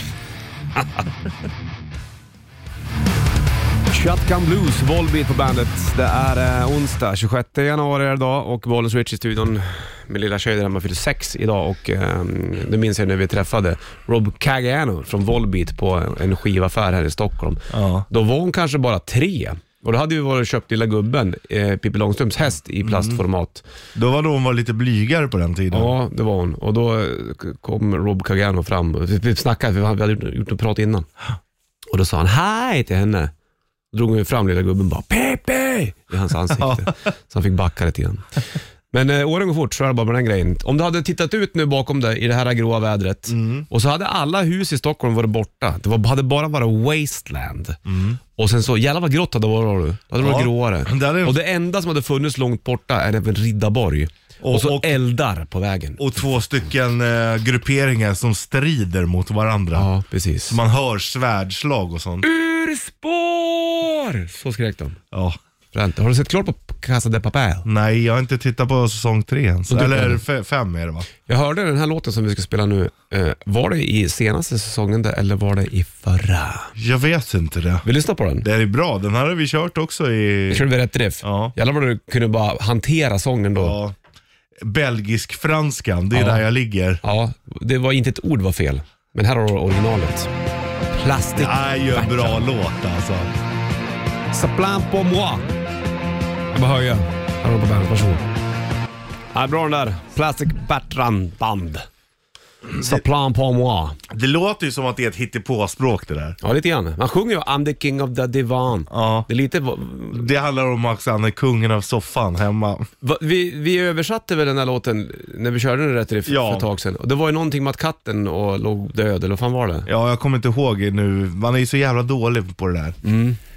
S2: Shotgun Blues, Volbeat på bandet. Det är eh, onsdag 26 januari är det idag och Bollens Rich i studion med lilla tjejen där man fyller sex idag och eh, det minns jag när vi träffade Rob Caggiano från Volbeat på en- en skivaffär här i Stockholm.
S3: Ja.
S2: Då var hon kanske bara tre och då hade vi varit och köpt Lilla Gubben, eh, Pippi Långstrumps häst
S3: Mm.
S2: i plastformat.
S3: Då var då hon var lite blygare på den tiden.
S2: Ja, det var hon. Och då eh, kom Rob Cagano fram. Vi- Vi snackade, vi hade gjort- gjort en prat innan. Och då sa han hej till henne. Då drog hon ju fram lilla gubben och bara Pepe i hans ansikte. Så han fick backa lite grann. Men eh, åren går fort, så är det bara med den grejen. Om du hade tittat ut nu bakom dig i det här gråa vädret
S3: Mm.
S2: och så hade alla hus i Stockholm varit borta. Det var, hade bara varit wasteland. Och sen så, jävlar vad grått det hade varit. då. Det hade varit
S3: Mm. Ja,
S2: gråare.
S3: det hade-
S2: Och det enda som hade funnits långt borta är även Riddarborg. Och,
S3: Och-
S2: så
S3: och-
S2: eldar på vägen.
S3: Och två stycken eh, grupperingar som strider mot varandra.
S2: ja, precis.
S3: Man hör svärdslag och sånt.
S2: Ur spår! Så skrek de.
S3: Ja.
S2: Fränt. Har du sett klart på Casa de Papel?
S3: Nej, jag har inte tittat på säsong tre ens.
S2: Och du-
S3: Eller fe- fem är det va?
S2: Jag hörde den här låten som vi ska spela nu. Eh, var det i senaste säsongen där, eller var det i förra?
S3: Jag vet inte det.
S2: Vi lyssnar på den.
S3: Det är bra, den här har vi kört också
S2: Jag
S3: i...
S2: körde vi rätt riff?
S3: Ja.
S2: Jävlar vad du kunde bara hantera sången då. Ja.
S3: Ja, Belgisk-franskan, det är
S2: Ja.
S3: där jag ligger.
S2: det var inte ett ord var fel. Men här har du originalet. Plastic.
S3: Det är ju en bra låt alltså.
S2: Saplan på moi. Jag bara höja. Här har du på bandet, varsågod. Ja, bra den där. Plastic Bertrand Band. Saplan på moi.
S3: Det låter ju som att det är ett hittepåspråk det där.
S2: Ja, lite grann. Man sjunger ju I'm the king of the divan.
S3: Ja.
S2: Det är lite... va-
S3: Det handlar om att han är kungen av soffan hemma.
S2: va- Vi, vi översatte väl den här låten när vi körde den rätt riff
S3: Ja.
S2: för ett tag sedan. Och det var ju någonting med att katten och låg död, eller vad fan var det?
S3: Ja, jag kommer inte ihåg nu. Man är ju så jävla dålig på det där.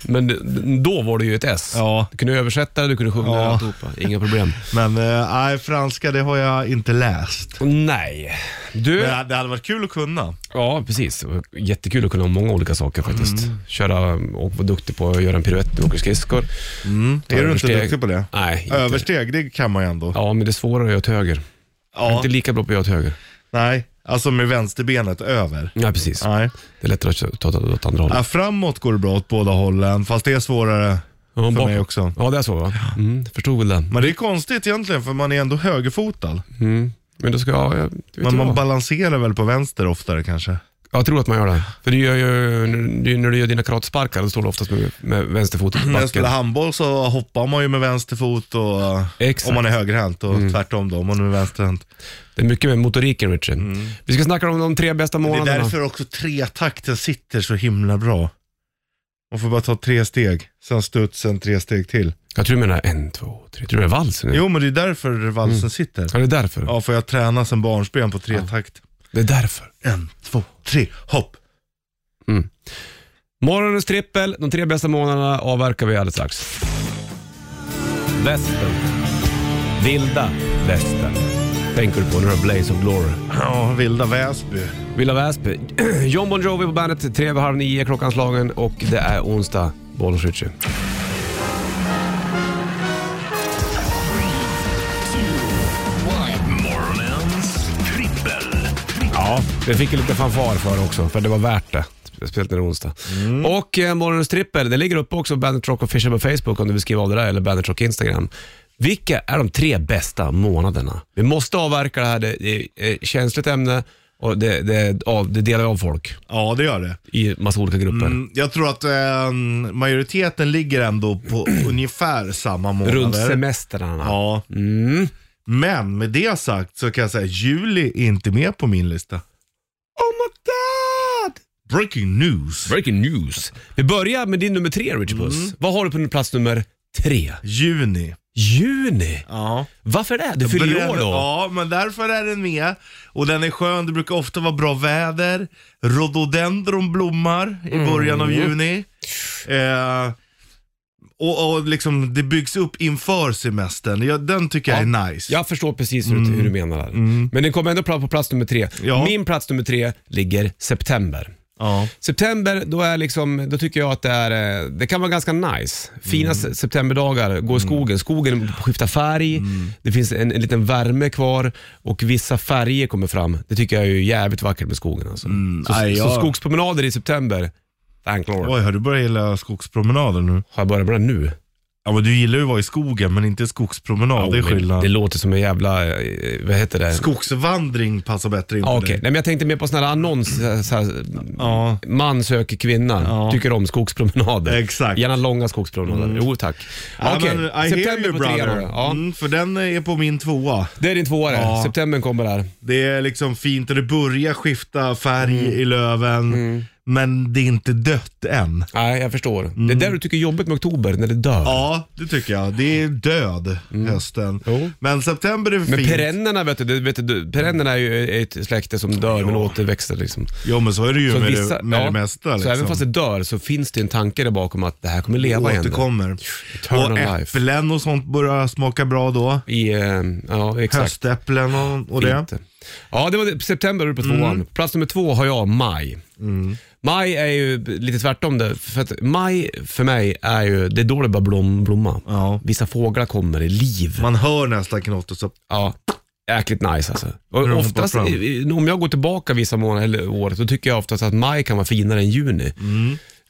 S2: Men d- då var det ju ett S.
S3: Ja.
S2: Du kunde översätta det, du kunde sjunga
S3: Ja.
S2: alltihopa. Inga problem.
S3: Men eh, nej, franska det har jag inte läst.
S2: Nej. Du...
S3: Men det- det hade varit kul att kunna.
S2: Ja, precis. Och Jättekul att kunna ha många olika saker faktiskt.
S3: Mm.
S2: Köra och vara duktig på att göra en piruett när du åker skridskor. Ta
S3: Är du inte
S2: översteg.
S3: duktig på det?
S2: Nej, inte.
S3: Översteg, det kan man ju ändå.
S2: Ja, men det är svårare är åt höger. Jag är
S3: Ja,
S2: inte lika bra på att göra åt höger.
S3: nej. Alltså med vänsterbenet över.
S2: Nej, precis.
S3: Nej.
S2: Det är lättare att ta ta- ta åt andra hållet.
S3: Ja, framåt går det bra åt båda hållen, fast det är svårare
S2: Ja,
S3: för
S2: bakåt.
S3: mig också.
S2: Ja, det är så va? Mm, förstod väl det.
S3: Men det är konstigt egentligen, för man är ändå högerfotad.
S2: Mm. Men då ska jag... Jag, vet
S3: Men
S2: jag.
S3: man balanserar väl på vänster oftare kanske?
S2: jag tror att man gör det. För du gör ju, när du- när du gör dina karatsparkar, då står du oftast med, med vänsterfoten på
S3: När jag
S2: backen.
S3: spelar handboll så hoppar man ju med vänster fot och,
S2: Exakt. Mm.
S3: om man är högerhänt och tvärtom då om man är vänsterhänt.
S2: Det är mycket med motoriken, Richie. Vi ska snacka om de tre bästa
S3: Det är
S2: månaderna.
S3: därför också tretakten sitter så himla bra. Man får bara ta tre steg, sen studs, sen tre steg till.
S2: Jag tror du menar en, två, tre. Tror du det är valsen?
S3: Jo men det är därför valsen sitter.
S2: Ja, det är därför.
S3: Ja, för jag tränar sen barnsben på tretakt.
S2: Det är därför.
S3: En, två, tre, hopp.
S2: Morgonens trippel, de tre bästa månaderna avverkar vi alldeles strax. Västern. Vilda västern. Tänker du på när du har Blaze of Glory.
S3: Ja, vilda Väsby.
S2: Villa Väsby. John Bon Jovi på bandet, tre över halv nio klockan slagen och det är onsdag. Bollnäs Ritchie.
S1: Morgonens trippel.
S2: Ja, det fick ju lite fanfar för också, för det var värt det. Speciellt när det är onsdag.
S3: Mm.
S2: Och eh, morgonens trippel, det ligger uppe också på Bandet Rock Official på Facebook om du vill skriva av det där, eller Bandet Rock Instagram. Vilka är de tre bästa månaderna? Vi måste avverka det här, det är ett känsligt ämne, Och det, det, av, det delar ju av folk
S3: Ja, det gör det.
S2: i massa olika grupper.
S3: Mm, jag tror att eh, majoriteten ligger ändå på ungefär samma månader.
S2: Runt semestrarna.
S3: Ja.
S2: Mm.
S3: Men med det sagt så kan jag säga att juli är inte med på min lista.
S2: Oh my god!
S3: Breaking news.
S2: Breaking news. Vi börjar med din nummer tre, Rich Puss.
S3: Mm.
S2: Vad har du på din plats nummer tre?
S3: Juni.
S2: Juni.
S3: Ja.
S2: Varför det? Du fyller ju år då.
S3: Ja, men därför är den med. Och den är skön, det brukar ofta vara bra väder. Rhododendron blommar i
S2: Mm.
S3: början av juni. Eh, och, och liksom det byggs upp inför semestern. Ja, den tycker jag är nice.
S2: Jag förstår precis hur, du- hur du menar. Där. Men den kommer ändå pla- på plats nummer tre.
S3: Mm. Ja.
S2: Min plats nummer tre ligger september.
S3: Ja.
S2: September, då, är liksom, då tycker jag att det, är, eh, det kan vara ganska nice.
S3: Mm.
S2: Fina se- septemberdagar, gå i skogen. Skogen skiftar färg,
S3: Mm.
S2: det finns en, en liten värme kvar och vissa färger kommer fram. Det tycker jag är ju jävligt vackert med skogen. Alltså. så,
S3: aj,
S2: så
S3: ja.
S2: skogspromenader i september, thank lord.
S3: Mm. Oj, har du börjat gilla skogspromenader nu?
S2: Har jag börjat med det nu?
S3: Ja, men du gillar ju att vara i skogen, men inte skogspromenad. det är
S2: Oh, men
S3: skillnad.
S2: det låter som en jävla, eh, vad heter det?
S3: Skogsvandring passar bättre in
S2: Ja,
S3: på
S2: Okej,
S3: dig.
S2: Nej, men jag tänkte mer på sådana här annonser, så här,
S3: Ja.
S2: man söker kvinna,
S3: Ja.
S2: tycker om skogspromenader.
S3: Exakt. Mm.
S2: Gärna långa skogspromenader. Jo tack.
S3: Ja,
S2: Okej,
S3: men I hear you
S2: september på tre
S3: brother.
S2: då. Ja.
S3: Mm, för den är på min tvåa.
S2: Det är din tvåa det.
S3: Ja.
S2: September kommer där.
S3: Det är liksom fint och det börjar skifta färg
S2: Mm.
S3: i löven. Men det är inte dött än.
S2: Nej, jag förstår. Det är där du tycker är jobbigt med oktober, när det dör.
S3: Mm. Ja, det tycker jag. Det är död, hösten.
S2: Mm. Jo.
S3: Men september är
S2: Men
S3: fint.
S2: perennerna vet du, det- vet du perennerna är ju ett släkte som dör men återväxter liksom.
S3: Jo, men så är det ju
S2: Så
S3: med,
S2: vissa-
S3: det, med
S2: ja,
S3: det mesta. Liksom.
S2: Så även fast det dör så finns det en tanke där bakom att det här kommer leva igen.
S3: återkommer.
S2: Eternal
S3: Och
S2: life.
S3: äpplen och sånt börjar smaka bra då.
S2: I, eh, ja, exakt.
S3: Höstäpplen och, och det. Mm.
S2: Inte. Ja, det var det. september var du på tvåan. Plats nummer två har jag maj. Maj är ju lite tvärtom det, för att maj för mig är ju, det är då det börjar blom, blomma.
S3: Ja.
S2: Vissa fåglar kommer i liv.
S3: Man hör nästan knotten så
S2: Ja, jäkligt nice alltså.
S3: Hur
S2: Och
S3: de
S2: oftast,
S3: hoppar fram.
S2: i- i- om jag går tillbaka vissa månader eller år, då tycker jag oftast att maj kan vara finare än juni.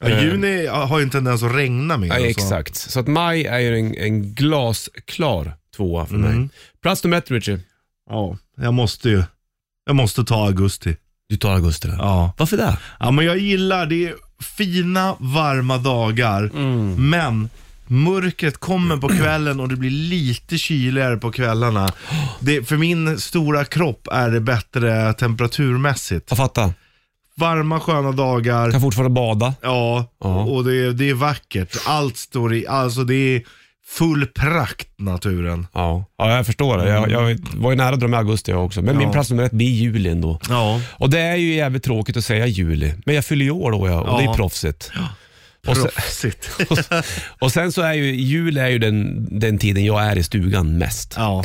S3: Ja, juni har ju en tendens att regna mer.
S2: Eh. Ja,
S3: och Mm, så.
S2: exakt. Så att maj är ju en, en glasklar tvåa för
S3: Mm.
S2: mig. Plats nummer ett, Richie.
S3: Ja, jag måste ju. Jag måste ta augusti.
S2: Du tar augusti där.
S3: Ja.
S2: Varför det?
S3: ja, men jag gillar det. är fina, varma dagar.
S2: Mm.
S3: Men mörkret kommer på kvällen och det blir lite kyligare på kvällarna. Det, för min stora kropp är det bättre temperaturmässigt.
S2: Jag fattar.
S3: Varma, sköna dagar.
S2: Kan fortfarande bada.
S3: Ja,
S2: Ja.
S3: och det, är- det är vackert. Allt står i, alltså det är full prakt naturen.
S2: Ja, ja jag förstår det.
S3: Mm.
S2: Jag, jag var ju nära att dra med augusti jag också, men min plats nummer ett blir juli ändå.
S3: Ja.
S2: Och det är ju jävligt tråkigt att säga juli, men jag fyller ju år då jag, och det är
S3: Ja.
S2: proffsigt. Och, sen,
S3: Proffsigt.
S2: och sen så är ju juli är ju den, den tiden jag är i stugan mest.
S3: ja.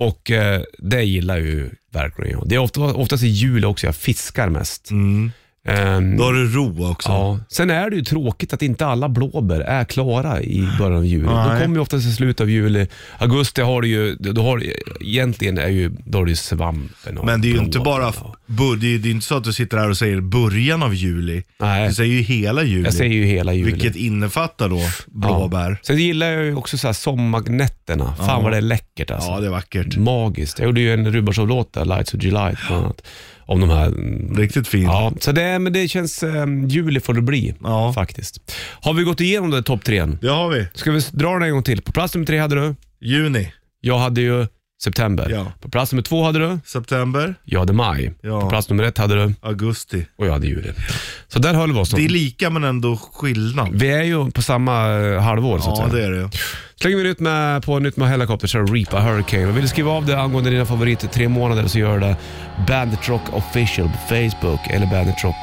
S2: Och eh, det gillar ju verkligen jag. Det är ofta, oftast i juli också jag fiskar mest. Ehm,
S3: Mm. Då har du ro också.
S2: Ja. Sen är det ju tråkigt att inte alla blåbär är klara i början av juli.
S3: Nej.
S2: De kommer ju oftast i slutet av juli. Augusti har du ju, då har, du- egentligen är ju, då har du ju svampen och
S3: Men det är ju inte
S2: blåbär
S3: bara,
S2: och-
S3: bur, det är det är inte så att du sitter här och säger början av juli.
S2: Nej.
S3: Du säger ju hela juli.
S2: Jag säger ju hela juli.
S3: Vilket innefattar då blåbär.
S2: Sen gillar jag ju också så här sommarnätterna. Fan vad det är läckert
S3: Ja,
S2: alltså.
S3: det är vackert.
S2: Magiskt. Jag gjorde ju en Rubarsov-låt där, Lights of July bland annat. Om de här...
S3: Riktigt fint.
S2: Mm. Ja, så det, är- men det känns... Eh, juli får det bli
S3: Ja.
S2: faktiskt. Har vi gått igenom det topp trean?
S3: Det har vi.
S2: Ska vi dra den en gång till? På plats nummer tre hade du?
S3: Juni,
S2: Jag hade ju september.
S3: Ja.
S2: På plats nummer två hade du,
S3: september,
S2: jag hade maj.
S3: Ja.
S2: På plats nummer ett hade du
S3: augusti.
S2: och jag hade juli. Så där höll vi oss. då.
S3: Det är lika men ändå skillnad.
S2: Vi är ju på samma eh, halvår så att
S3: Ja,
S2: säga.
S3: det är det.
S2: Slänger vi ut med på nytt med Helicopter så är det Reaper Hurricane. Och vill du skriva av det angående dina favoriter tre månader så gör det Bandit Rock official på Facebook eller Bandit Rock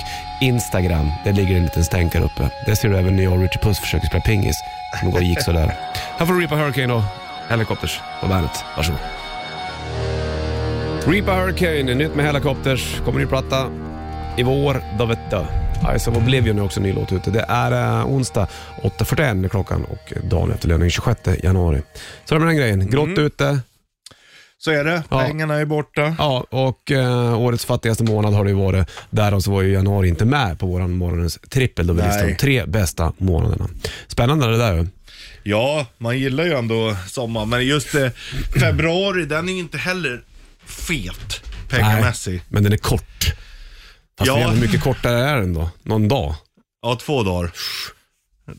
S2: Instagram. Där ligger en liten stänkare uppe. Där ser du även när jag och Richard Puss försöker spela pingis. Som går och gick sådär. Här får du Reaper Hurricane och Helicopters på bandet. Varsågod. Reaper Hurricane, nytt med Helicopters. Kommer ny platta i vår, då vet du. Eyes of Oblivion är också en ny låt ute. Det är eh, onsdag 8.41 är klockan och dagen efter löning 26 januari. Så det var den grejen. Grått
S3: Mm.
S2: ute.
S3: Så är det.
S2: Ja.
S3: Pengarna är borta.
S2: Ja, och eh, årets fattigaste månad har det ju varit. Därav så var ju januari inte med på våran morgonens trippel då vi
S3: Nej.
S2: listade de tre bästa månaderna. Spännande det där ju.
S3: Ja, man gillar ju ändå sommar. Men just eh, februari, den är ju inte heller fet pengamässig.
S2: Men den är kort. Fast
S3: Ja.
S2: det är jävligt mycket kortare är den då. Någon dag.
S3: Ja, två dagar.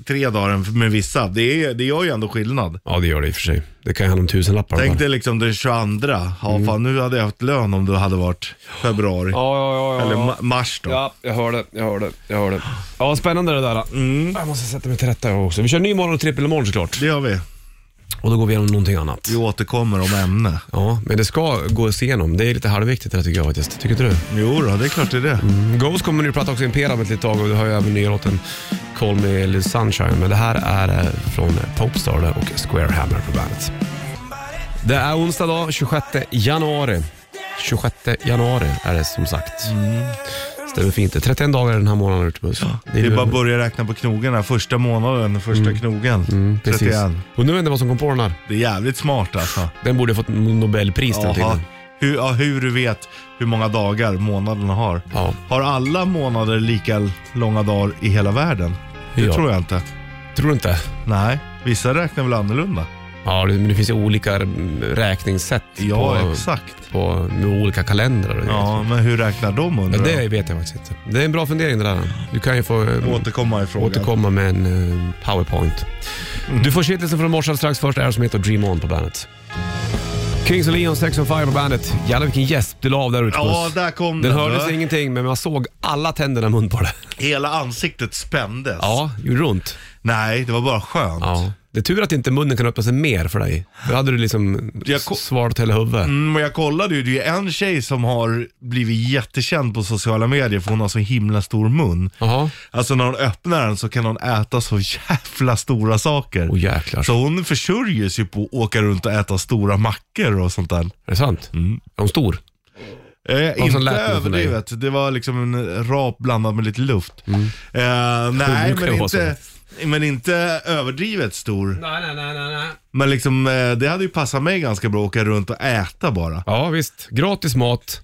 S3: Tre dagar med vissa. Det, är, det gör ju ändå skillnad.
S2: Ja, det gör det i och för sig. Det kan ju handla om tusenlappar.
S3: Tänk
S2: bara.
S3: dig liksom den 22. Ja, fan nu hade jag haft lön om det hade varit februari.
S2: Mm. Ja, ja, ja. ja,
S3: Eller
S2: ja.
S3: ma- mars då.
S2: Ja, jag hör det, jag hör det, jag hör det. Ja, spännande det där. Mm. Jag måste sätta mig till rätta jag också. Vi kör ny morgon och trippel imorgon såklart.
S3: Det gör vi.
S2: Och då går vi igenom någonting annat.
S3: Vi återkommer om ämne.
S2: Ja, men det ska gås igenom. Det är lite halvviktigt det här tycker jag faktiskt. Tycker inte du?
S3: Jo då, det är klart det är det.
S2: Mm. Ghost kommer nu prata också Impera om ett litet tag och du har ju även nya låten Call Me Little Sunshine. Men det här är eh, från Popstar där och Square Hammer på bandet. Det är onsdag dag, 26 januari. 26 januari är det som sagt. Stämmer fint. Det är 31 dagar den här månaden Ritmus.
S3: Det är
S2: ju-
S3: bara att börja räkna på knogarna. Första månaden, första knogen.
S2: Mm. Precis.
S3: 31.
S2: Och nu vet jag vad som kom på den här.
S3: Det är jävligt smart alltså.
S2: Den borde ha fått Nobelpris den
S3: Jaha.
S2: tiden.
S3: Hur, ja, hur du vet hur många dagar månaderna har.
S2: Ja.
S3: Har alla månader lika långa dagar i hela världen? Det
S2: Ja.
S3: tror jag inte.
S2: Tror du inte?
S3: Nej, vissa räknar väl annorlunda?
S2: Ja, det, men det finns ju olika mm, räkningssätt
S3: Ja,
S2: på,
S3: exakt.
S2: på, med olika kalendrar och grejer.
S3: Ja, men hur räknar de
S2: Ja,
S3: undrar
S2: det
S3: jag?
S2: vet jag faktiskt inte. Det är en bra fundering det där. Du kan ju få eh,
S3: Återkomma i frågan.
S2: återkomma med en eh, powerpoint.
S3: Mm.
S2: Du får shitlisten från morse strax. Först är det som heter Dream On på bandet. Kings och Leon, Sex on Fire på bandet. Jävlar vilken gäsp du la av där ute.
S3: Ja,
S2: Puss.
S3: där kom
S2: Den
S3: den.
S2: hördes
S3: va?
S2: ingenting, men man såg alla tänderna i mun på det.
S3: Hela ansiktet spändes.
S2: Ja, gjorde det ont?
S3: Nej, det var bara skönt.
S2: Ja. Det är tur att inte munnen kan öppna sig mer för dig. Då hade du liksom
S3: Jag ko-
S2: svarat hela huvudet.
S3: Mm, men jag kollade ju, det är en tjej som har blivit jättekänd på sociala medier för hon har så himla stor mun.
S2: Jaha.
S3: Alltså när hon öppnar den så kan hon äta så jävla stora saker.
S2: Åh jäklar.
S3: Så hon försörjer sig på att åka runt och äta stora mackor och sånt där.
S2: Är det sant?
S3: Mm.
S2: Är hon stor?
S3: Eh,
S2: som
S3: inte
S2: lät det för dig?
S3: överdrivet, det var liksom en rap blandad med lite luft.
S2: Mm.
S3: Eh, nej,
S2: brukar
S3: men
S2: vara
S3: inte, men inte överdrivet stor.
S2: Nej, nej, nej, nej.
S3: Men liksom, eh, det hade ju passat mig ganska bra att åka runt och äta bara.
S2: Ja, visst. Gratis mat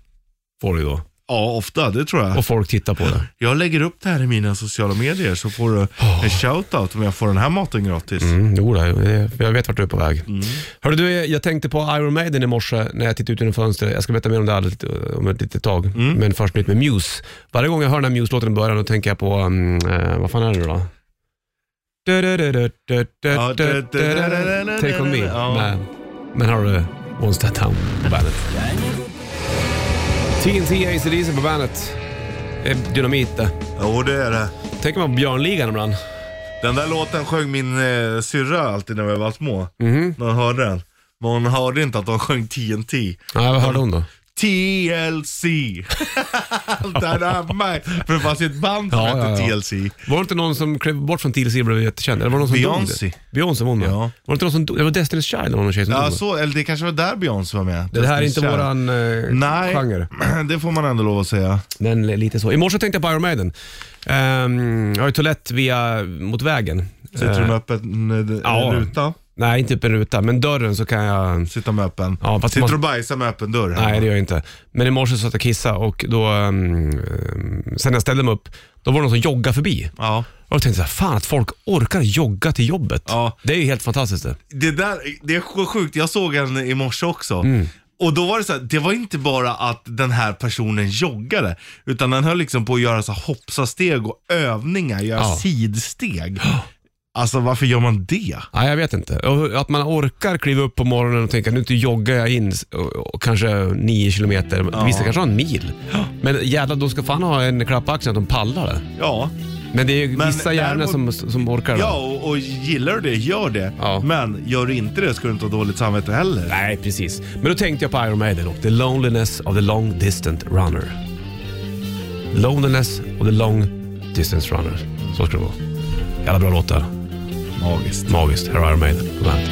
S2: får du då.
S3: Ja, ofta, det tror jag.
S2: Och folk tittar på det.
S3: Jag lägger upp det här i mina sociala medier så får du en shoutout om jag får den här maten gratis.
S2: Ah. Mm, jo, då, det- jag vet vart du är på väg. Hörru du, jag tänkte på Iron Maiden i morse när jag tittade ut genom fönstret. Jag ska berätta mer om det här lite- om ett litet tag. Men först nytt med Muse. Varje gång jag hör den här Muse-låten i början, då tänker jag på, mm, eh, vad fan är det då?
S3: Ja,
S2: Take on me.
S3: Ja.
S2: Med- Men har du One Step Down på bandet? TNT ACDC på bandet. Det är Dynamit det.
S3: Jo, det är det.
S2: Tänker man på Björnligan ibland.
S3: Den där låten sjöng min eh, syrra alltid när vi var små.
S2: Mhm.
S3: När hon hörde den. Men hon hörde inte att de sjöng TNT.
S2: Nej, vad hörde hon då?
S3: TLC. Där är mig. För det fanns ju ett band som
S2: Ja, ja, Mm.
S3: hette
S2: ja.
S3: TLC.
S2: Var det inte någon som klev bort från TLC och blev jättekänd? Eller var det någon som
S3: Beyoncé.
S2: dog? Beyoncé. var hon med.
S3: Ja.
S2: Var det inte någon som dog? Det var Destiny's Child, det var någon tjej som
S3: Ja,
S2: dog. va?
S3: så, eller det kanske var där Beyoncé var med.
S2: Det här är inte
S3: Destiny's Child.
S2: våran eh,
S3: Nej,
S2: genre,
S3: det får man ändå lov att säga.
S2: men lite så. I morse tänkte jag på Iron Maiden. Ehm, jag har ju toalett via, mot vägen.
S3: Sitter du med öppen eh,
S2: ja.
S3: ruta?
S2: Nej, inte upp en ruta, men dörren så kan jag...
S3: Sitta med öppen.
S2: Ja, fast
S3: Sitter
S2: man-
S3: och bajsar med öppen dörr? hemma?
S2: Nej, det gör jag inte. Men i morse satt jag och kissade och då, ehm, ehm, sen när jag ställde mig upp, då var det någon som joggade förbi.
S3: Ja.
S2: Och då tänkte jag, fan att folk orkar jogga till jobbet.
S3: Ja.
S2: Det är ju helt fantastiskt det.
S3: Det där, det är så sjukt. Jag såg en i morse också. Och då var det så här, det var inte bara att den här personen joggade, utan den höll liksom på att göra så här hoppsasteg och övningar, göra
S2: Ja.
S3: sidsteg. Alltså varför gör man det?
S2: Ja, jag vet inte. Och Att man orkar kliva upp på morgonen och tänka nu inte joggar jag in s- och, och kanske nio kilometer. Vissa kanske har en mil. Men jävlar, de ska fan ha en klapp på axeln att de pallar det.
S3: Ja,
S2: Men det är ju
S3: Men
S2: vissa hjärnor som,
S3: däremot-
S2: som orkar det.
S3: ja och, och gillar du det, gör det.
S2: Ja.
S3: Men gör du inte det ska du inte ha dåligt samvete heller.
S2: Nej, precis. Men då tänkte jag på Iron Maiden och The Loneliness of the Long Distant Runner. Loneliness of the Long Distance Runner. Så ska det vara. Jävla bra låt där. Magiskt. Magiskt. Här har Iron Maiden på bandet.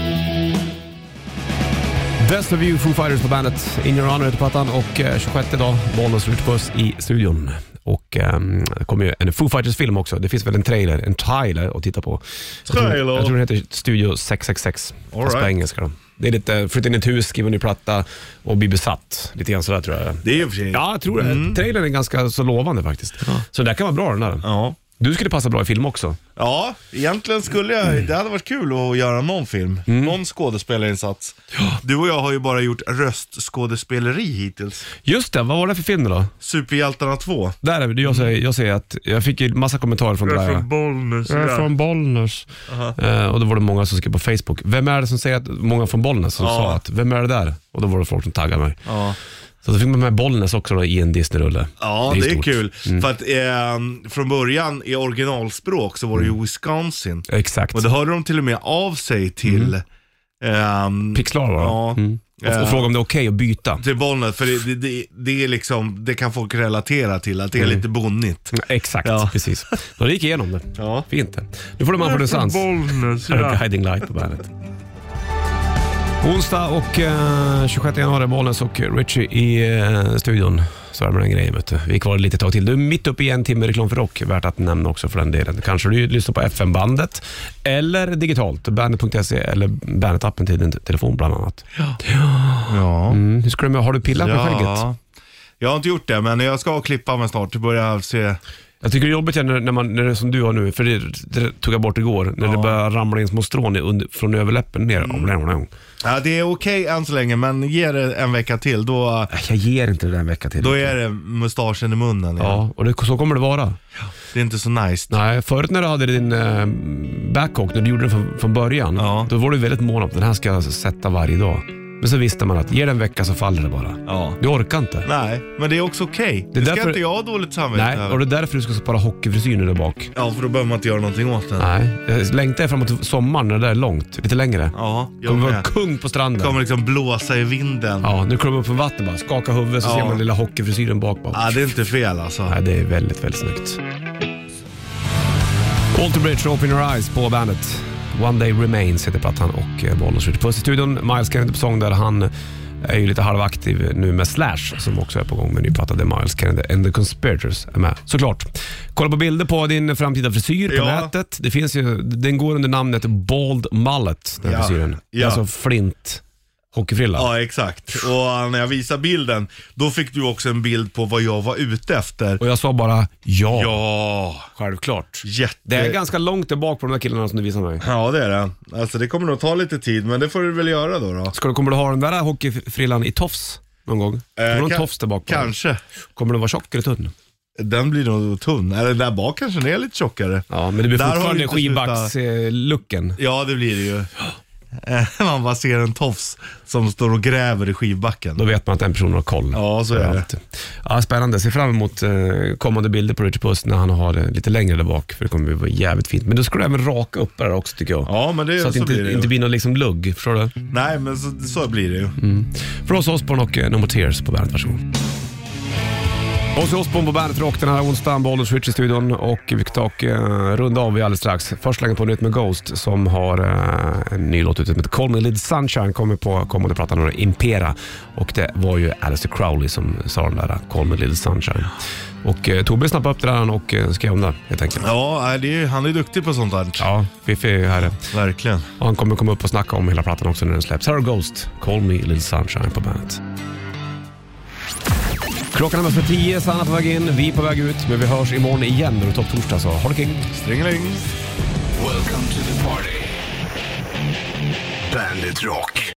S2: Best of you, Foo Fighters på bandet. In your honor heter plattan och eh, 26 dag, Bollnäs Rutbuss i studion. Och ehm, det kommer ju en Foo Fighters-film också. Det finns väl en trailer, en trailer att titta på. Jag tror,
S3: Trailer.
S2: jag tror den heter Studio 666.
S3: All
S2: Fast på
S3: right.
S2: engelska då. Det är lite, flytta in i ett hus, skriva en ny platta och bli besatt. Lite grann sådär tror jag.
S3: Det är ju för sig.
S2: Ja, jag tror det. Trailern är ganska så lovande faktiskt. Så det där kan vara bra den där.
S3: Mm. Ja.
S2: Du skulle passa bra i film också.
S3: Ja, egentligen skulle jag, det hade varit kul att göra någon film. Någon skådespelarinsats. Du och jag har ju bara gjort röstskådespeleri hittills.
S2: Just det, vad var det för film då?
S3: Superhjältarna 2.
S2: Där är vi. Jag säger, jag säger att jag fick ju massa kommentarer från det där.
S3: Bollnäs.
S2: Jag är från Bollnäs. Eh, och då var det många som skrev på Facebook. Vem är det som säger att, många från Bollnäs som
S3: Ja.
S2: sa att, vem är det där? Och då var det folk som taggade mig.
S3: Ja.
S2: Så då fick man med Bollnäs också då, i en Disney-rulle.
S3: Ja, det är,
S2: stort. Mm.
S3: kul. För att eh, från början i originalspråk så var det
S2: Mm.
S3: ju Wisconsin.
S2: Exakt.
S3: Och det hörde de till och med av sig till... ehm,
S2: Mm. Pixlar var det.
S3: Ja. Ehm, Eh.
S2: Och, och fråga om det är okej att byta.
S3: Till Bollnäs, för det, det, det, det är liksom, det kan folk relatera till, att det är
S2: Mm.
S3: lite bonnigt.
S2: Exakt,
S3: Ja.
S2: precis. Då det gick igenom det.
S3: Ja.
S2: Fint det. Nu får du man för distans.
S3: Bollnäs,
S2: Här har Guiding Light på bandet. Onsdag och eh, 26 januari, Bollnäs och Richie i eh, studion. Så är det med den grejen vet du. Vi är kvar lite tag till. Du är mitt uppe i en timme reklam för rock, värt att nämna också för den delen. Kanske du lyssnar på FM-bandet eller digitalt, bandet.se E eller bandet-appen till din telefon bland annat.
S3: Ja.
S2: Mm. Hur ska du med, har du pillat med skägget?
S3: Jag har inte gjort det, men jag ska klippa mig snart. Det börjar se...
S2: Jag tycker det är jobbigt när, när man, när det är som du har nu, för det, det tog jag bort igår, när det börjar ramla in små strån i under, från överläppen ner.
S3: Mm. Ja, det är okej än så länge, men ge det en vecka till. Då,
S2: Jag ger inte det en vecka till.
S3: då är det mustaschen i munnen. igen.
S2: Ja, och det, så kommer det vara.
S3: Det är inte så nice.
S2: Nej, förut när du hade din eh, backhawk, när du gjorde den från, från början,
S3: Ja.
S2: då var du väldigt mån om att den här ska jag sätta varje dag. Men så visste man att ger det en vecka så faller det bara.
S3: Ja.
S2: Du orkar inte.
S3: Nej, men det är också okej.
S2: Det
S3: Det,
S2: är
S3: ska
S2: därför-
S3: inte jag ha dåligt samvete
S2: Nej,
S3: över.
S2: och det är därför du ska spara hockeyfrisyren där bak.
S3: Ja, för då behöver man inte göra någonting åt den.
S2: Nej, jag längtar framåt sommaren när det där är långt, lite längre.
S3: Ja, jag
S2: kommer vara
S3: med.
S2: kung på stranden.
S3: Kommer liksom blåsa i vinden. Ja.
S2: Ja, nu kommer man upp från vattnet bara, skaka huvudet så
S3: Ja.
S2: ser man lilla hockeyfrisyren bak bara.
S3: det är inte fel alltså.
S2: Nej, det är väldigt, väldigt snyggt. Alter Bridge, Open Your Eyes på bandet. One Day Remains heter plattan och eh, Bollnäs skjuter puss i studion. Miles Kennedy på sång där han är ju lite halvaktiv nu med Slash som också är på gång med en ny platta där Miles Kennedy and the Conspirators är med. Såklart. Kolla på bilder på din framtida frisyr på
S3: Ja.
S2: nätet. Det finns ju, den går under namnet Bald Mullet, den
S3: Ja.
S2: frisyren.
S3: Ja.
S2: Alltså flint hockeyfrilla.
S3: Ja, exakt. Och eh, när jag visar bilden, då fick du också en bild på vad jag var ute efter.
S2: Och jag sa bara ja,
S3: Ja,
S2: självklart.
S3: jätte...
S2: Det är ganska långt där bak på de där killarna som du visade mig.
S3: Ja, det är det. Alltså det kommer nog ta lite tid, men det får du väl göra då. då.
S2: Ska du, kommer du ha den där hockeyfrillan i tofs någon gång? Kommer du ha en
S3: kan-
S2: tofs där bak? på den?
S3: Eh, Kanske.
S2: Kommer den vara tjock eller tunn?
S3: Den blir nog tunn. Eller där bak kanske den är lite tjockare.
S2: Ja, men det blir
S3: Där har
S2: fortfarande
S3: vi inte slutat.
S2: skivbacks-looken.
S3: Ja, det blir det ju. Eh, Man bara ser en tofs som står och gräver i skivbacken.
S2: Då vet man att den personen har koll.
S3: Ja, så är det.
S2: Allt. Ja, spännande. Se fram emot eh, kommande bilder på Richard Puss när han har det lite längre där bak. För det kommer att vara jävligt fint. Men då ska du även raka upp där också tycker jag.
S3: Ja, men det,
S2: så att det inte,
S3: blir det ju.
S2: inte blir någon liksom lugg. Förstår du?
S3: Nej, men så, så blir det ju.
S2: För oss Osbourne och eh, No More Tears på bandet. Varsågod. Ozzy Osbourne på bandet Rock den här onsdagen, Bollnäs Switch i studion och vi ska ta och eh, runda av vi alldeles strax. Först slänger på nytt med Ghost som har eh, en ny låt ute som heter Call Me Little Sunshine, kommer på kommande plattan och Impera. Och det var ju Alistair Crowley som sa den där eh, Call Me Little Sunshine. Och eh, Tobbe snappade upp det där och eh, skrev om det helt enkelt.
S3: Ja, nej, det är, ju- han är duktig på sånt där.
S2: Ja, Fifi är ju här.
S3: Verkligen.
S2: Och han kommer komma upp och snacka om hela plattan också när den släpps. Här har Ghost, Call Me Little Sunshine på bandet. Klockan är nästan tio, Sanna på väg in, vi är på väg ut, men vi hörs imorgon igen när det är topptorsdag. Så ha det kul!
S3: Stringeling.
S1: Welcome to the party. Bandit Rock.